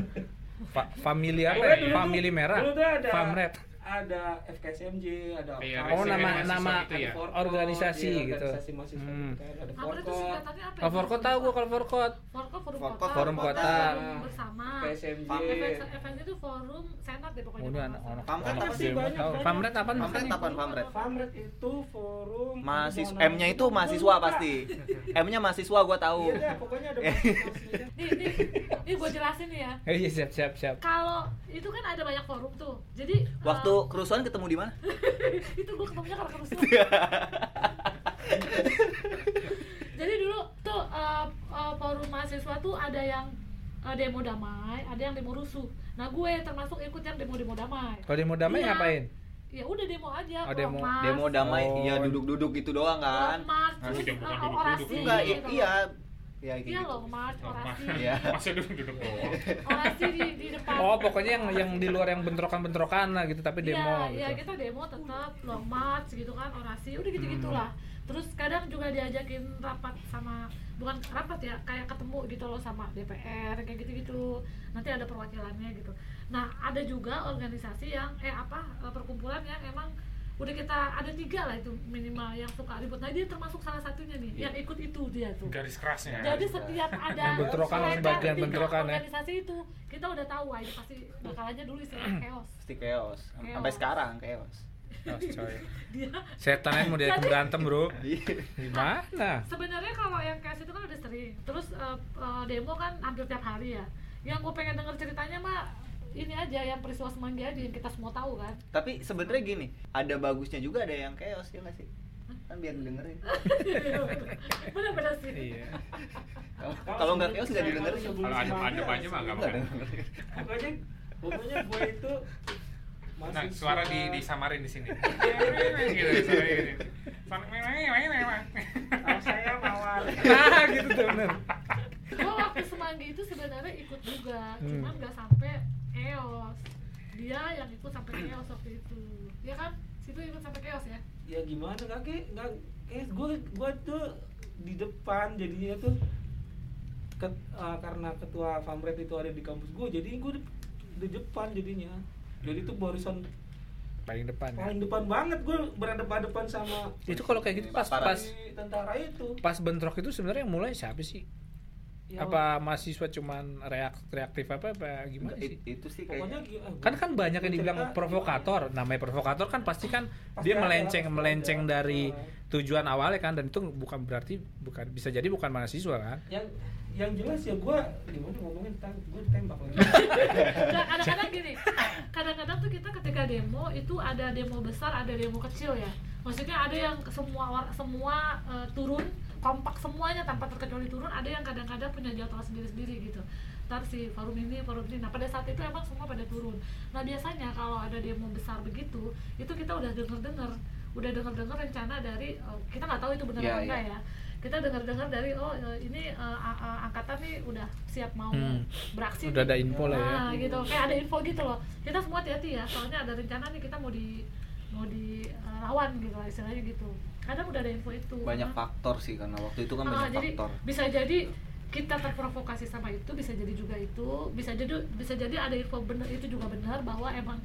Fa family apa? Pokoknya ya? dulu tuh- Family merah. dulu tuh ada Famret. ada FKSMJ ada Iya, Farkot, Oh nama mahasiswa nama gitu ya? iya. ada Forkot, organisasi iya, gitu. organisasi mahasiswa Hmm. gitu kan, ada Apa itu Forkot, singkatannya apa? ya? Kalau forkot tahu gua kalau forkot. Forkot forum Forkot, kota. forum kota. Forum bersama. FKSMJ Event itu forum senat deh pokoknya. Kemudian kalau nggak Oh, salah. anak Pamret anak pasti demo banyak, tahu. banyak. Famret apaan? Famret maksudnya? apaan? Famret. Famret itu forum Mahasiswa permohonan- M-nya itu mahasiswa pasti. M-nya mahasiswa gua tahu. Iya deh, pokoknya (laughs) ada mahasiswa. Nih nih nih gue jelasin nih ya. Eh, Iya siap siap siap. Kalau itu kan ada banyak forum tuh. Jadi eh, Waktu kerusuhan ketemu di mana? itu gue ketemunya karena ya. kerusuhan. Jadi dulu tuh eh, eh, forum mahasiswa tuh ada yang eh, demo damai, ada yang demo rusuh. Nah gue termasuk ikut yang demo-demo damai. Kalau demo Iya. damai ngapain? Ya udah demo aja. Oh, demo- ormas, Demo damai, Oh. iya duduk-duduk gitu doang kan. ormas, Nah, terus udah bukan eh, duduk-duduk. orasi. Enggak, i- gitu. iya. Iya kayak Iya gitu. loh, march, orasi. Iya. Masih duduk-duduk doang. Orasi di, di depan. Oh pokoknya yang yang di luar yang bentrokan-bentrokan lah gitu tapi demo Iya, gitu. kita demo tetap long march gitu kan, orasi, udah gitu-gitu lah. Hmm. Terus kadang juga diajakin rapat sama bukan rapat ya, kayak ketemu gitu loh sama DPR kayak gitu-gitu. Nanti ada perwakilannya gitu. Nah, ada juga organisasi yang eh apa eh, perkumpulan yang emang udah kita ada tiga lah itu minimal yang suka ribut. Nah, dia termasuk salah satunya Iya. nih yang ikut itu dia tuh. Garis kerasnya. Jadi setiap ada Yang bentrokan selebar sebagian tiga bentrokan ya. organisasi itu kita udah tahu wah ini pasti bakalannya dulu istilahnya chaos. (laughs) Pasti chaos. Sampai Chaos. sekarang chaos. Oh, coy. Dia Setan aja mau diajak berantem bro. Iya. (laughs) Gimana? sebenarnya kalau yang chaos itu kan udah sering. Terus eh, eh, demo kan hampir tiap hari ya. Yang gue pengen denger ceritanya mah ini aja yang peristiwa semanggi aja yang kita semua tahu (laughs) kan. (laughs) Tapi sebenarnya gini, ada bagusnya juga ada yang chaos ya nggak sih? Kan biar dengerin. Bener-bener sih. Iya. Kalau- Kalau nggak chaos nggak didengerin. Kalau ada ada aja mah nggak apa-apa. Pokoknya pokoknya gue itu Nah, suara di disamarin di sini. gitu, suara ini. Suara- Kalau saya mawar. (laughs) Nah gitu tuh bener. Gue waktu semanggi itu sebenarnya ikut juga, Hmm. cuman nggak sampai chaos. Dia yang ikut sampai chaos waktu itu. Ya kan? Situ ikut sampai chaos ya. Ya gimana kakek? Nggak eh gue gue tuh di depan jadinya tuh ke- eh, karena ketua famret itu ada di kampus gue jadi gue di, di depan jadinya jadi tuh barisan Paling depan. ya. paling depan banget gue berhadapan-hadapan sama Itu kalau kayak gitu pas Paparan. pas si tentara itu pas bentrok itu sebenarnya yang mulai siapa sih? Ya, apa mahasiswa cuman reak reaktif apa apa gimana sih? It- itu sih pokoknya kayaknya gi- ah, Kan kan banyak yang gua dibilang cerita- provokator. Namanya provokator kan pasti kan dia ada, melenceng pasti melenceng ada. dari tujuan awalnya kan dan itu bukan berarti bukan bisa jadi bukan mahasiswa kan? yang yang jelas ya gue gimana ngomongin tentang gue ditembak lagi Nggak, kadang-kadang gini kadang-kadang tuh kita ketika demo itu ada demo besar ada demo kecil ya maksudnya ada yang semua war- semua eh, turun kompak semuanya tanpa terkecuali turun ada yang kadang-kadang punya jadwal sendiri-sendiri gitu ntar si forum ini forum ini nah pada saat itu emang semua pada turun nah biasanya kalau ada demo besar begitu itu kita udah denger-denger udah denger-denger rencana dari eh, kita nggak tahu itu benar Iya, apa enggak iya. ya kita dengar-dengar dari oh eh, ini eh, a- a- angkatan nih udah siap mau Hmm. beraksi Udah nih. ada info lah ya. Nah, gitu kayak ada info gitu loh kita semua hati-hati ya soalnya ada rencana nih kita mau di mau dilawan gitu lah istilahnya gitu kadang udah ada info itu banyak Nah, faktor sih karena waktu itu kan ah, banyak jadi faktor. bisa jadi kita terprovokasi sama itu bisa jadi juga itu bisa jadi bisa jadi ada info benar itu juga benar bahwa emang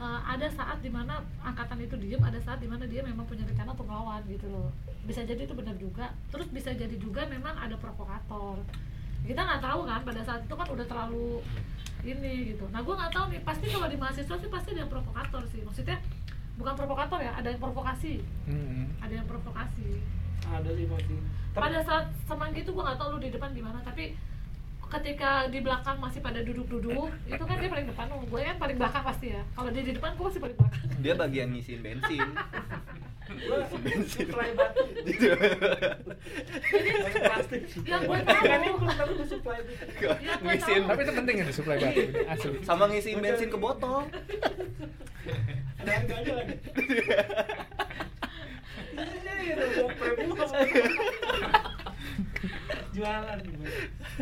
eh, ada saat dimana angkatan itu diem ada saat dimana dia memang punya rencana untuk melawan gitu loh bisa jadi itu benar juga terus bisa jadi juga memang ada provokator kita nggak tahu kan pada saat itu kan udah terlalu ini gitu nah gue nggak tahu nih pasti kalau di mahasiswa sih pasti ada yang provokator sih maksudnya bukan provokator ya ada yang provokasi Hmm. ada yang provokasi ada sih pasti Tapi- pada saat semanggi itu gue nggak tahu lu di depan gimana tapi ketika di belakang masih pada duduk-duduk itu kan dia paling depan gue kan paling belakang pasti ya kalau dia di depan gue masih paling belakang dia bagian ngisiin bensin (laughs) Gua supply batu masuk plastik yang gue Kan tahu ini gua tahu gua supply itu. yang gue Iya, Ngisiin. tahu Tapi itu penting ya, itu suplai batu ini, asli. sama ngisiin bensin ke botol ada harganya lagi Iya, iya, iya, gua premium. jualan gua.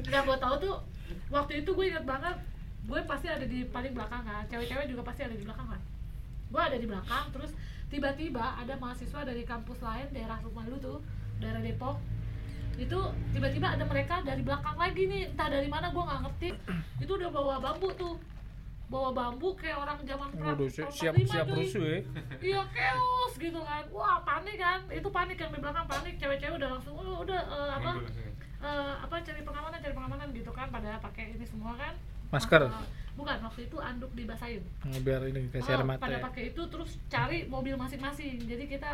yang gue tahu tuh waktu itu gue ingat banget gue pasti ada di paling belakang kan cewek-cewek juga pasti ada di belakang kan gue ada di belakang terus tiba-tiba ada mahasiswa dari kampus lain daerah rumah lu tuh daerah Depok itu tiba-tiba ada mereka dari belakang lagi nih entah dari mana gue nggak ngerti itu udah bawa bambu tuh bawa bambu kayak orang zaman perang Waduh, tahun siap 45, siap cuy. rusuh ya. iya keos gitu kan wah panik kan itu panik yang di belakang panik cewek-cewek udah langsung "Oh, udah eh, apa eh, apa cari pengamanan cari pengamanan gitu kan pada pakai ini semua kan Masker. bukan waktu itu anduk dibasahin Biar ini kasih air Eh, mata. pada ya. pakai itu terus cari mobil masing-masing jadi kita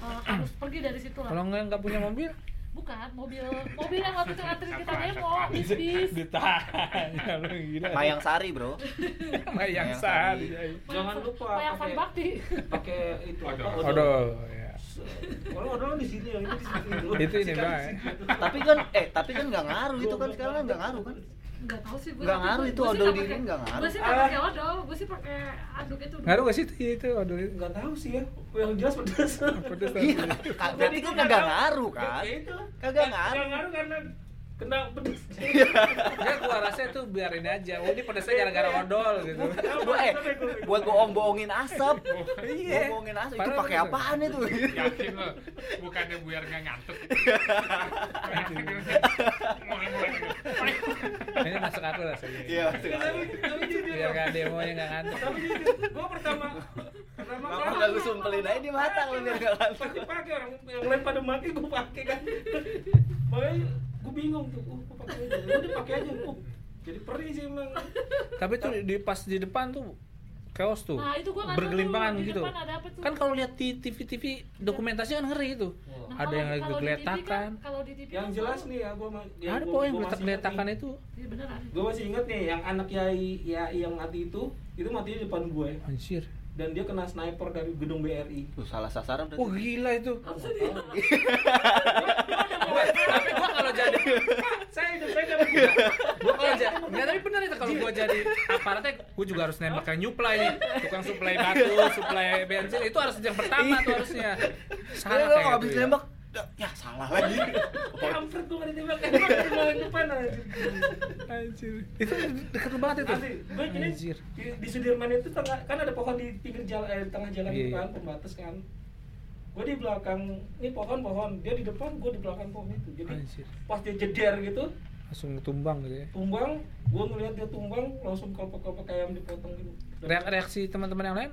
eh, (coughs) harus pergi dari situ Kalau lah nggak nggak punya mobil, bukan mobil mobil yang waktu itu ngantri kita Satu, demo satu. bis (laughs) bis ditahan. Ya, lu gila. Mayang Sari bro Mayang Mayang sari. Sari. Jangan lupa yang fan pakai- bakti pakai itu apa, Odol. Odol. ya. Kalau odol di sini yang ini di sini dulu. Itu ini, Sikat di Mbak, ya. sini. tapi kan eh tapi kan nggak ngaruh itu kan sekarang kan nggak ngaruh kan nggak tahu sih gue Nggak ngaruh itu odol di ini, nggak ngaruh. gue sih nggak pakai odol gue sih pakai anduk itu Ngaruh gak sih itu- Iya, itu odol itu? Nggak tahu sih ya. Yang jelas pedas. Pedes tadi. iya ka- berarti kan kagak ngaruh kan Ya, itu. Kagak Nggak- ngaruh. Iya. nggak ngaruh karena kena pedas. Ya gua rasa itu biarin aja. Oh, ini pedasnya gara-gara odol gitu. Gua, eh, buat bohong-bohongin asap Iya. bohongin asap itu Parah pakai banget. apaan itu Yakin lo, bukannya biar nggak ngantuk. Mulai-mulai gitu. Ini masuk aku rasanya. iya Tapi tapi jujur. Biar nggak demo yang nggak ngantuk. Tapi jujur, gua pertama pertama Kenapa nggak lu sumpelin aja di mata kalau biar nggak ngantuk? Pasti pakai orang yang lain pada mati gua pakai kan. Makanya gua bingung tuh. Uh, gua pakai aja. Udah pakai aja. Uh, jadi perih sih emang. Tapi tuh di pas di depan tuh chaos tuh. Nah, itu gua nggak tahu bergelimpangan tuh, di gitu. depan ada apa tuh. Kan kalau lihat di TV-TV dokumentasi kan ngeri itu. Iya. Nah, Wah. ada yang kan lagi geletakan. kalau di TV Yang jelas nih ya gua ma- Iya, ya, ada gua- pokoknya yang gua masih ingat geletak-geletakan nih. itu. iya beneran gue masih inget nih yang anak yai yai yang mati itu itu mati di depan gue Anjir. dan dia kena sniper dari gedung BRI Tuh, salah sasaran Wah, berarti Oh, gila itu. Tapi (laughs) gua kalau jadi saya hidup saya dapat gila gua kalau jadi nggak tapi bener itu kalau gua jadi aparatnya gua juga harus nembak yang nyuplai nih. Tukang (laughs) suplai batu, suplai bensin itu harus yang pertama Iya. tuh harusnya. Salah saya kalau kayak habis gitu ya. nembak dah, ya salah lagi kampret gue nggak ditembak emang di ruangan depan anjir Anjir. Itu deket banget itu. Asli, gue gini Anjir. di, di Sudirman itu tengah kan ada pohon di pinggir jalan eh, di tengah jalan Iya, itu iya. kan pembatas kan gue di belakang ini pohon-pohon dia di depan gue di belakang pohon itu jadi Anjir. pas dia jeder gitu Langsung tumbang gitu ya. tumbang gue ngeliat dia tumbang langsung kelpak-kelpak ayam dipotong gitu Dan- Reak- reaksi teman-teman yang lain?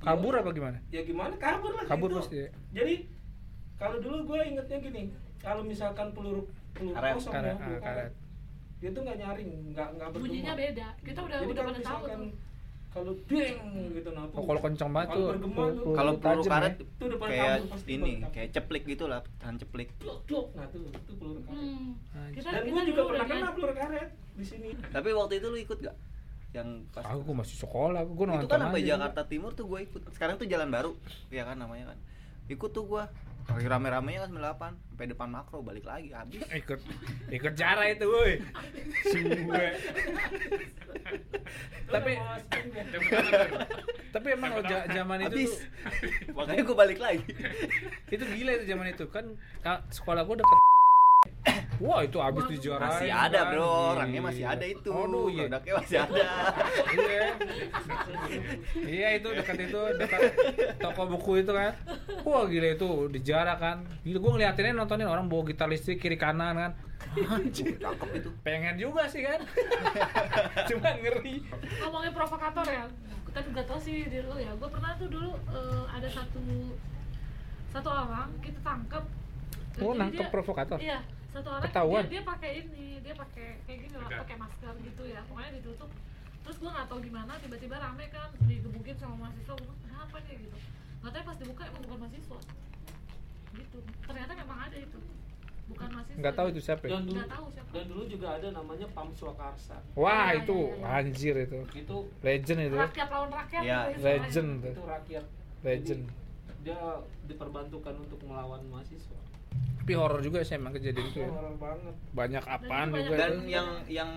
Kabur apa gimana? ya gimana kabur lah Kabur gitu. pasti ya. jadi kalau dulu gue ingetnya gini kalau misalkan peluru peluru Karet, kosong karet, ya, peluru ah, karet. dia tuh nggak nyaring nggak nggak bergema. bunyinya beda kita udah jadi udah kalau pada tahu misalkan tuh kalau deng gitu nah tuh Oh, kalau kencang banget kalau tuh. bergema Pul- tuh pul- kalau peluru tajam karet ya. Itu depan kayak kampus pasti ini depan kayak ceplik gitu lah tahan ceplik blok blok nah tuh itu peluru karet hmm. Anjir. kita dan kita gue juga dulu pernah udah kena lihat. peluru karet di sini tapi waktu itu lu ikut gak yang pas Aku masih sekolah, aku nonton itu kan sampai aja. Jakarta Timur tuh gue ikut sekarang tuh jalan baru ya kan namanya kan ikut tuh gue lagi rame-ramenya kan 98 sampai depan makro balik lagi habis Eh, ikut ikut cara itu woi Suwe. kan Tapi- ya. Tapi emang kalau ja- zaman itu habis tuh- (laughs) makanya gue balik lagi itu gila itu zaman itu kan ka- sekolah gua deket (coughs) Wah itu abis di masih ada bro orangnya masih ada itu Aduh kan. iya. produknya masih ada Iya. Iya itu dekat itu dekat toko buku itu kan. Wah gila itu dijarah kan. Gila gue ngeliatinnya nontonin orang bawa gitar listrik kiri kanan kan. Cakep cakep itu (laughs) Pengen juga sih kan. Cuman ngeri. ngomongin provokator ya tapi gak tau sih diri lu ya gue pernah tuh dulu eh, ada satu satu orang kita tangkap Dan Oh, jadi nangkep dia- provokator? iya satu orang Ketahuan? dia, dia pakai ini dia pakai kayak gini lah pakai masker gitu ya pokoknya ditutup terus gue nggak tahu gimana tiba-tiba rame kan digebukin sama mahasiswa gue kenapa nih gitu nggak tahu pas dibuka emang bukan mahasiswa gitu ternyata memang ada itu bukan mahasiswa nggak tahu itu siapa ya? dan dulu Nggak tahu siapa. dan dulu juga ada namanya Pam Swakarsa wah Iya, itu iya, iya. anjir itu itu legend itu rakyat lawan rakyat Iya, gitu istilahnya. legend tuh. itu rakyat legend Jadi, dia diperbantukan untuk melawan mahasiswa tapi horor juga sih emang kejadian itu ya. horor banget banyak apaan banyak- juga dan itu. yang yang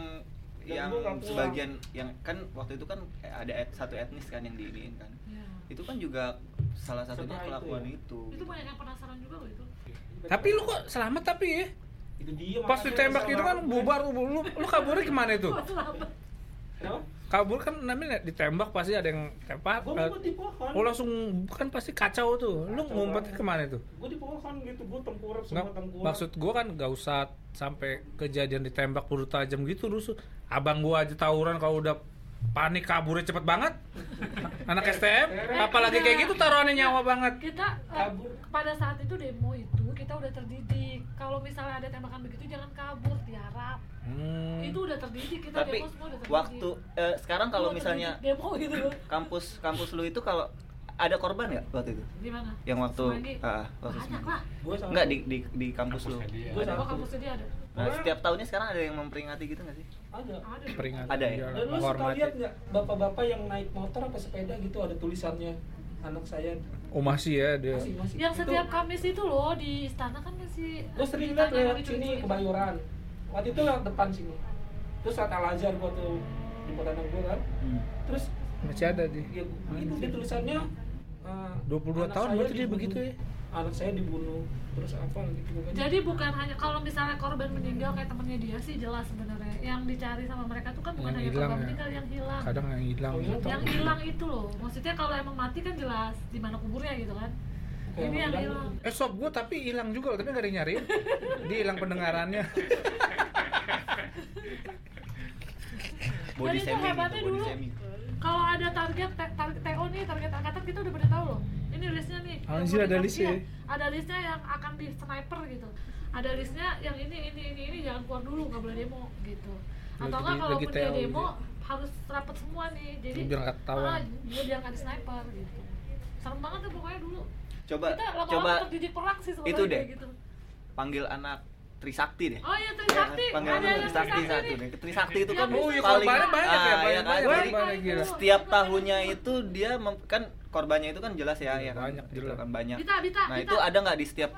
Dan yang gua nggak pulang. sebagian yang kan waktu itu kan ada et- satu etnis kan yang diiniin kan Iya. itu kan juga salah satunya Setelah itu kelakuan ya? itu, itu kan banyak yang penasaran juga loh itu tapi lu kok selamat tapi ya itu dia pas makanya ditembak kesel itu kan banget. bubar lu lu kaburnya kemana itu Gua selamat. Kenapa? kabur kan namanya ditembak pasti ada yang tembak Gua ngumpet di pohon. oh langsung kan pasti kacau tuh lu Kacau ngumpetnya banget. kemana tuh Gue di pohon gitu, gue tengkurap Nggak, semua tengkurap. maksud gua kan gak usah sampai kejadian ditembak peluru tajam gitu rusuh abang gua aja tawuran kalau udah panik kaburnya cepet banget anak Eh, STM apalagi kayak gitu taruhannya nyawa banget kita eh, Kabur. pada saat itu demo itu kita udah terdidik kalau misalnya ada tembakan begitu jangan kabur tiarap Hmm. itu udah terdidik kita tapi demo semua udah terdidik waktu eh, sekarang Gua kalau terdidik misalnya demo gitu loh kampus kampus lu itu kalau ada korban nggak waktu itu gimana yang waktu Semanggi? ah, waktu banyak semanggi. lah Gua sama- nggak di di di kampus lu Kampusnya dia. Gua Ada. sama- oh kampusnya dia ada Nah, setiap tahunnya sekarang ada yang memperingati gitu nggak sih Ada. ada Hmm, peringatan Ada ya? dia lah, Dan lu suka menghormati lihat nggak bapak-bapak yang naik motor apa sepeda gitu ada tulisannya anak saya oh masih ya dia masih masih. yang setiap Kamis itu loh di istana kan masih gitu, Gue sering ditanya lihat lewat hari sini Jumat. kebayoran. Waktu itu lewat depan sini. Terus saat Al Azhar gua tuh di kota anak gua kan. Terus masih ada dia ya, itu dia tulisannya. eh, 22 anak tahun saya berarti dia dibunuh. begitu ya? Anak saya dibunuh. Terus apa gitu pokoknya. jadi bukan hanya kalau misalnya korban meninggal kayak temennya dia sih jelas sebenarnya yang dicari sama mereka tuh kan bukan Yang hanya hilang korban ya. meninggal yang hilang kadang yang hilang Yang gitu. Oh, iya, yang hilang itu loh maksudnya kalau emang mati kan jelas di mana kuburnya gitu kan Kayak ini yang bilang, hilang eh sob gue tapi hilang juga loh, tapi gak ada yang nyariin dia hilang pendengarannya body Jadi itu semi gitu hebatnya body dulu. semi kalau ada target ta- target TO nih target angkatan kita udah pada tahu loh ini listnya nih yang Anjir, mau ada dikasih listnya ya. ya? ada listnya yang akan di sniper gitu ada listnya yang ini ini ini ini jangan keluar dulu nggak boleh demo gitu atau Lagi- enggak kalau lagi dia TO demo gitu. harus rapat semua nih jadi Biar nggak ketahuan. ah, dia biar nggak di sniper gitu serem banget tuh pokoknya dulu coba kita coba lama-lama terdidik perang sih sebenarnya itu deh. kayak gitu panggil anak Trisakti deh oh iya Trisakti panggil ada anak yang Trisakti Trisakti satu nih deh Trisakti itu kan Yang bisa- Oh, iya, paling korbannya banyak ya, Ah, banyak kan? banyak, Jadi, korbannya gila. setiap tahunnya itu dia mem- kan korbannya itu kan jelas ya ya kan? Banyak, Itu jelas. kan banyak Bita, Bita, nah Bita. itu ada nggak di setiap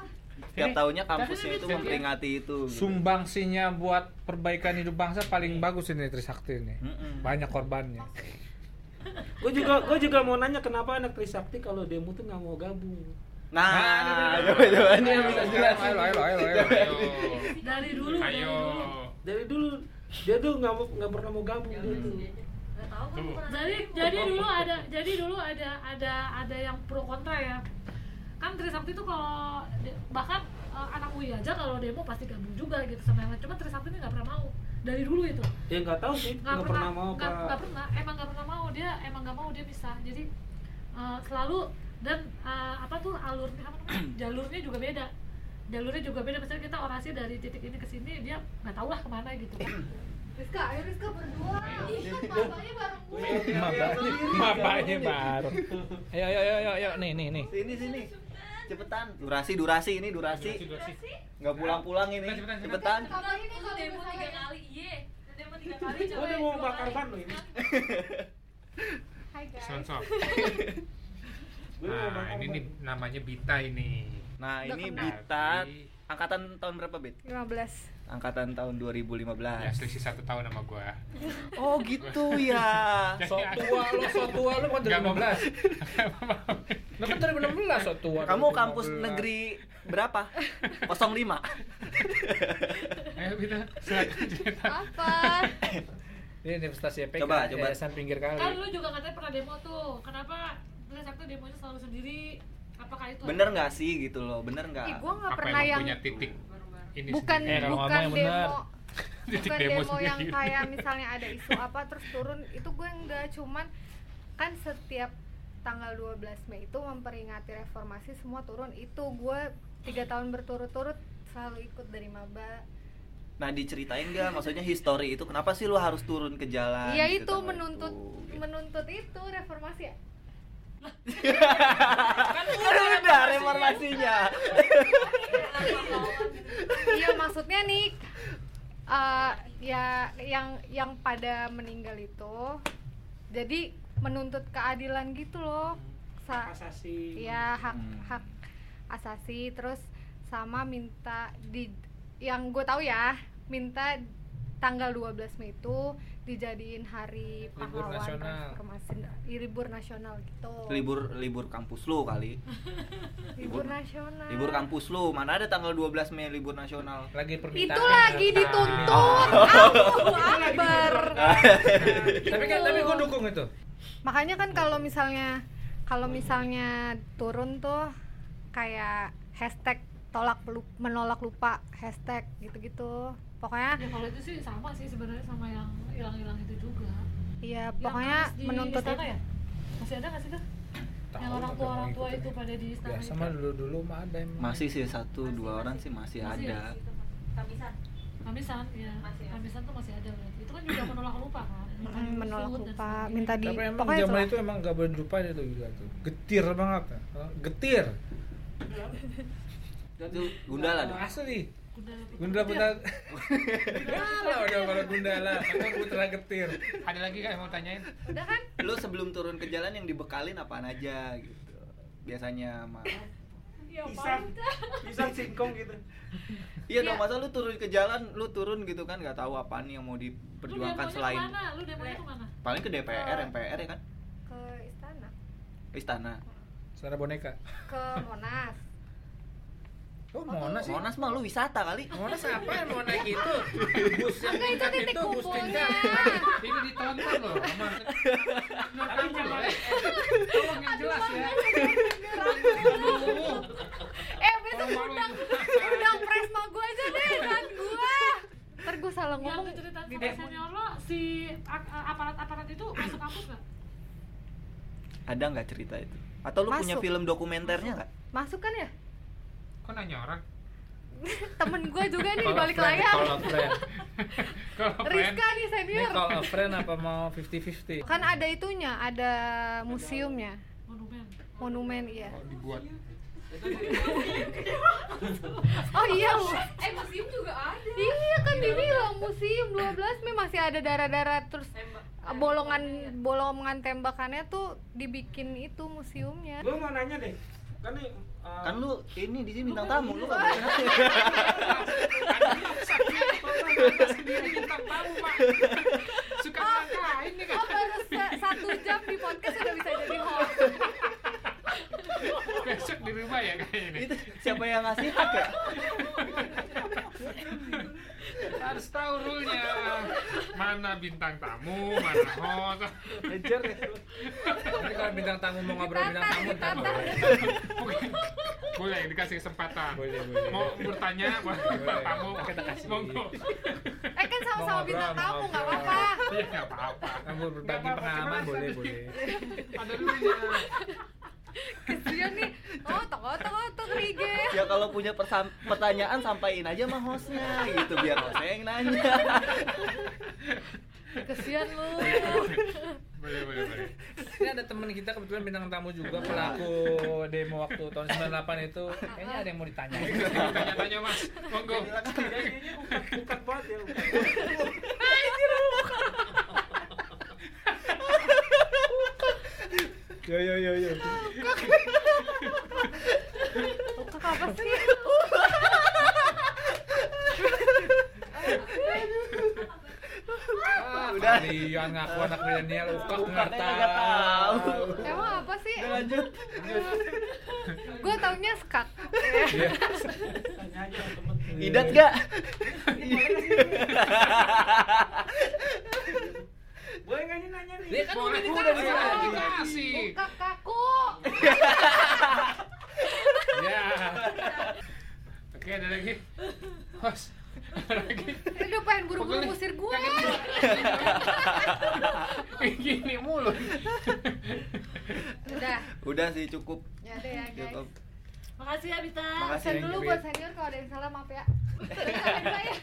setiap tahunnya kampusnya Tapi itu Bita. memperingati itu gitu. sumbangsinya buat perbaikan hidup bangsa Iya. paling bagus ini Trisakti ini. Mm-mm. Banyak korbannya. Gue juga gue juga mau nanya kenapa anak Trisakti kalau demo tuh nggak mau gabung. nah Nah, coba coba ini yang Ayo, bisa ayo, jelasin Iya, ayo, ayo, ayo, ayo. dari dulu dari Ayo. dulu Dari dulu dia tuh nggak mau nggak pernah mau gabung dia tuh. Tuh. jadi jadi dulu ada jadi dulu ada ada ada yang pro kontra ya kan Trisakti itu kalau de- bahkan eh, anak UI aja kalau demo pasti gabung juga gitu sama yang lain cuma Trisakti ini nggak pernah mau dari dulu itu Ya nggak tahu sih nggak nggak pernah mau nggak nggak apa. pernah emang nggak pernah mau dia emang nggak mau dia bisa jadi eh, selalu dan eh, apa tuh alurnya apa (clears throat) namanya, jalurnya juga beda jalurnya juga beda misalnya kita orasi dari titik ini ke sini dia nggak tahu lah kemana gitu kan (clears throat) Rizka, ayo Rizka berdua. Ih, kan bapaknya bareng gue. iya. Mabaknya, mabaknya baru. Ayo, ayo, ayo, ayo, ayo, nih, nih, nih. sini sini cepetan durasi durasi ini durasi nggak pulang pulang ini Cepetan, cepetan, cepetan Kalau ini kalau demo Iya. tiga kali. iye iya. demo tiga kali Gue udah mau bakar ban loh ini. Hai guys. Sonsok. Gua mau Nah, bakar ini ban. nih namanya Bita ini. nah ini kenal. Bita Tapi- angkatan tahun berapa Bit? 15. angkatan tahun 2015 Ya, selisih satu tahun sama gua. oh gitu ya Sok tua lo, sok tua lo kan dari Nggak mau. 2015. Lo kan dari 2016 sok tua. Kamu dari kampus 2015. negeri berapa? 05. Ayo Bita, silakan cerita. Apa? Ini Universitas YPK. Coba, coba. Yayasan pinggir kali. kan lu juga katanya pernah demo tuh kenapa Trisakti demonya selalu sendiri apakah itu Bener nggak sih gitu loh, bener nggak? Ih, gua nggak Apa pernah emang yang punya titik ini bukan Eh, sendiri? kalau bukan ngomong yang benar. demo (laughs) Titik bukan demo demo yang sendiri. kayak misalnya ada isu apa terus turun itu gue enggak cuman kan setiap tanggal 12 Mei itu memperingati reformasi semua turun itu gue tiga tahun berturut-turut selalu ikut dari maba Nah diceritain nggak maksudnya history itu kenapa sih lu harus turun ke jalan? Iya gitu itu tanggal menuntut itu? menuntut itu reformasi ya? Aduh, udah reformasinya. Iya maksudnya nih eh, ya yang yang pada meninggal itu jadi menuntut keadilan gitu loh. Sa- asasi Iya. ya hak Hmm. hak asasi terus sama minta di yang gue tahu ya minta tanggal 12 Mei itu dijadiin hari Libur pahlawan nasional. reformasi i- libur nasional gitu libur libur kampus lu kali. libur libur- nasional Libur kan- kampus lu. Mana ada tanggal 12 Mei libur nasional? lagi permintaan itu lagi datang. dituntut Allahu Oh. (laughs) akbar Ah. tapi kan tapi gue dukung itu makanya kan kalau misalnya kalau misalnya turun tuh kayak hashtag tolak pelu- menolak lupa hashtag gitu-gitu pokoknya ya kalau itu sih sama sih sebenarnya sama yang hilang-hilang itu juga Iya, Yang pokoknya kasus di menuntut istana itu. ya masih ada nggak sih tuh Tahu, yang orang tua nggak orang tua ngikutin. itu ya? pada di istana biasa mah dulu dulu Ya, mah ada emang. Masih sih satu dua orang sih masih ada. Kamisan. Kamisan, ya. Masih ada. Kamisan tuh masih ada berarti. Itu kan juga menolak lupa kan. Minta Mm, menolak disebut dan lupa sebagainya. minta di tapi emang pokoknya zaman itulah. itu emang gak boleh dilupain itu gila tuh getir banget ya. getir Itu gundala dong. asli Gundala Putra. gundala putra Iya. (laughs) gundala udah kalau gundala maka putra getir Ada lagi kan yang mau tanyain? udah kan Lu sebelum turun ke jalan yang dibekalin apaan aja gitu. Biasanya sama Iya, pisang Pak. pisang singkong gitu Iya dong, masa lu turun ke jalan, lu turun gitu kan nggak tahu apaan yang mau diperjuangkan Lu demonya selain kemana? Lu demonya kemana? paling ke DPR, MPR ya kan? ke istana Ke Istana. suara boneka ke (laughs) monas oh monas sih Monas mah lu wisata kali. monas apa yang monas gitu bus yang enggak Nah, itu tingkat titik itu bus kumpulnya tingkat Ini ditonton loh sama Nur Amin ya, Pak. Tolong yang jelas ya. Aduh. eh besok undang undang presma gue aja deh kan gue ntar gue salah Yang ngomong diceritain di Iya, sama demo. senior lo, si a- a- aparat-aparat itu masuk kampus nggak? Ada nggak cerita itu? Atau lu punya Masuk. film dokumenternya nggak? masuk kan ya Kok nanya orang? (laughs) temen gue juga nih di Kalau balik friend, layar kalau friend Kalau friend Rizka nih ini senior kalau friend apa mau 50-50 kan ada itunya ada museumnya Monumen. monumen iya kalau dibuat oh iya Eh museum juga ada. iya kan dibilang museum 12 Mei masih ada darah-darah terus Tembak. Iya, bolongan bolongan tembakannya tuh dibikin itu museumnya gue mau nanya deh kan nih uh, Kan (laughs) lu ini di sini bintang tamu, (laughs) lu nggak boleh nanya. sendiri bintang tamu, Pak. Suka ngatain nih kan. oh baru sa- satu jam di podcast udah bisa jadi host Besok di rumah ya kayaknya nih. Itu siapa yang ngasih hak ya? Harus tahu rule-nya. Mana bintang tamu, mana host. ngejar ya tapi kalau bintang tamu mau ngobrol bintang tamu ntar Ditata, boleh. Mungkin- boleh dikasih kesempatan Boleh, boleh. mau bertanya boleh Boleh. tamu Kita kasih. monggo eh kan Mau sama-sama ngobrol, bintang mau tamu nggak ngobrol. apa-apa iya nggak apa-apa kamu Nggak berbagi apa-apa, pengalaman cuman boleh tadi- boleh ada dulunya kesian nih oh toko toko tuh kerige Ya kalau punya persam- pertanyaan sampaikan aja sama hostnya gitu biar hostnya yang nanya. kesian lu boleh boleh boleh ini ada teman kita kebetulan bintang tamu juga pelaku demo waktu tahun 98 itu kayaknya ada yang mau ditanyain tanya-tanya mas monggo kayaknya ukat ukat banget ya ukat. yo yo yo yo kok apa sih Udah. udah kalian ngaku anak milenial ukak nggak Ukaknya nggak tahu tahu. emang apa sih Udah, lanjut. gue taunya skak Iya. tanya aja sama temen Idat gak? gue nggak ini nanya nih Iya, Dia kan udah Boleh, ditanya. udah gitu. dikasih buka kaku ya oke ada lagi host ada lagi Aduh pengen buru-buru Pokoknya- musir gue Kayak gini mulu udah sih cukup ya deh ya guys cukup Makasih ya Bita. Makasih. Pesan dulu buat senior kalau ada yang salah maaf ya Salamin saya ya.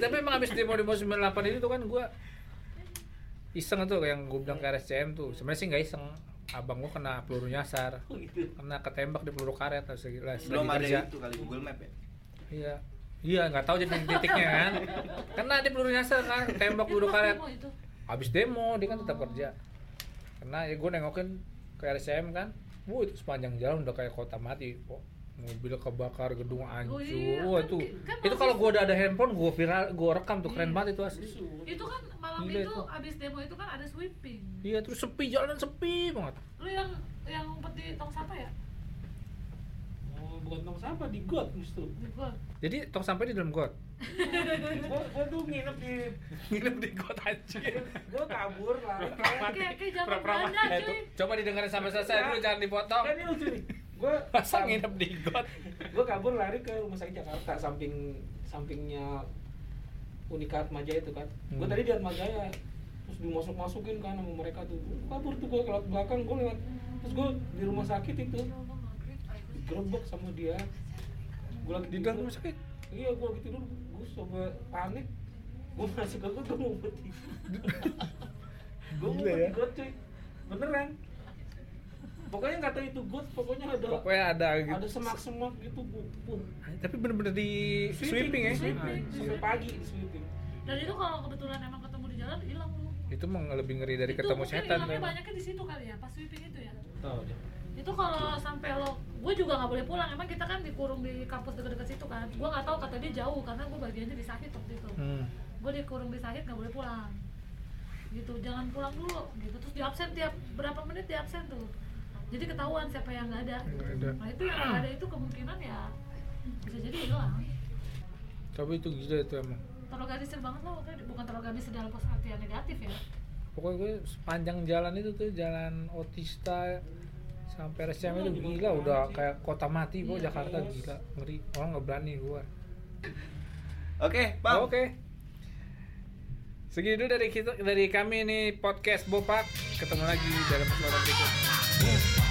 Tapi emang abis demo demo 98 ini tuh kan gue iseng tuh kayak yang gue bilang ke RSCM tuh. Sebenarnya sih nggak iseng. Abang gue kena peluru nyasar, Oh, gitu. kena ketembak di peluru karet terus lagi lagi belum ada kerja. itu kali Google Map ya Iya. Iya, nggak tahu jadi titiknya kan. Kena dia peluru nyasar kan, tembak peluru karet. Mau itu. Habis demo dia kan tetap kerja. Karena ya gue nengokin ke RSCM kan. Wuh, itu sepanjang jalan udah kayak kota mati. Wah, mobil kebakar, gedung Oh hancur. iya, Wah, kan itu. ki- kan itu masih- kalau gue udah ada handphone, gue viral, gue rekam tuh keren Iya. banget itu asli. Itu kan malam Gila itu itu. abis demo itu kan ada sweeping. Iya, terus sepi jalanan sepi banget. Lu yang yang peti tong sampah ya? Oh, bukan tong sampah di got justru. Di gua. Jadi tong sampai di dalam got. (laughs) Gua gua tuh nginep di Nginep di got aja. gua kabur lah. Kayak kayak zaman Pra-pra belanja Nah, itu cuy. coba didengarin sampai selesai dulu jangan (laughs) dipotong. Kan ini lucu nih. Gua Masa nginep di got? Gua kabur lari ke rumah sakit Jakarta samping sampingnya Unikat Majaya itu kan. Gua Hmm. tadi di Atmajaya terus dimasuk-masukin kan sama mereka tuh. Gua kabur tuh gua ke laut belakang gua lewat. Terus gua di rumah sakit itu digerebek sama dia. Gua lagi Di dalam rumah sakit. Iya, gua lagi tidur, gua coba panik. Gua masuk ke gua tuh ngumpet. Gua Gila ngumpet ya. ya? cuy. Beneran. Pokoknya kata itu got, pokoknya ada Pokoknya ada gitu. ada semak-semak gitu gua. gua- Tapi bener-bener di sweeping Ah, ya. sweeping. Anjir. Sampai pagi di sweeping. Dan itu kalau kebetulan emang ketemu di jalan hilang lu. Itu mah lebih ngeri dari Itu ketemu mungkin setan. hilangnya memang. banyaknya di situ kali ya, pas sweeping itu ya. Tahu deh. itu kalau sampai lo gue juga nggak boleh pulang emang kita kan dikurung di kampus deket-deket situ kan gue nggak tahu kata dia jauh karena gue bagiannya di Sahid waktu itu Hmm. gue dikurung di Sahid nggak boleh pulang gitu jangan pulang dulu gitu terus di absen tiap berapa menit di absen tuh jadi ketahuan siapa yang nggak ada gitu. Nggak ada. nah itu yang nggak ada itu kemungkinan ya bisa jadi hilang Tapi itu gila itu emang. terorganisir banget lo kan bukan terorganisir dalam artian negatif ya Pokoknya gue sepanjang jalan itu tuh jalan Otista sampai RSCM itu gila udah kayak kota mati kok Jakarta gila ngeri orang nggak berani keluar. oke bang Oke. Segini dulu dari kita dari kami ini podcast Bopak. Ketemu lagi dalam kesempatan berikutnya.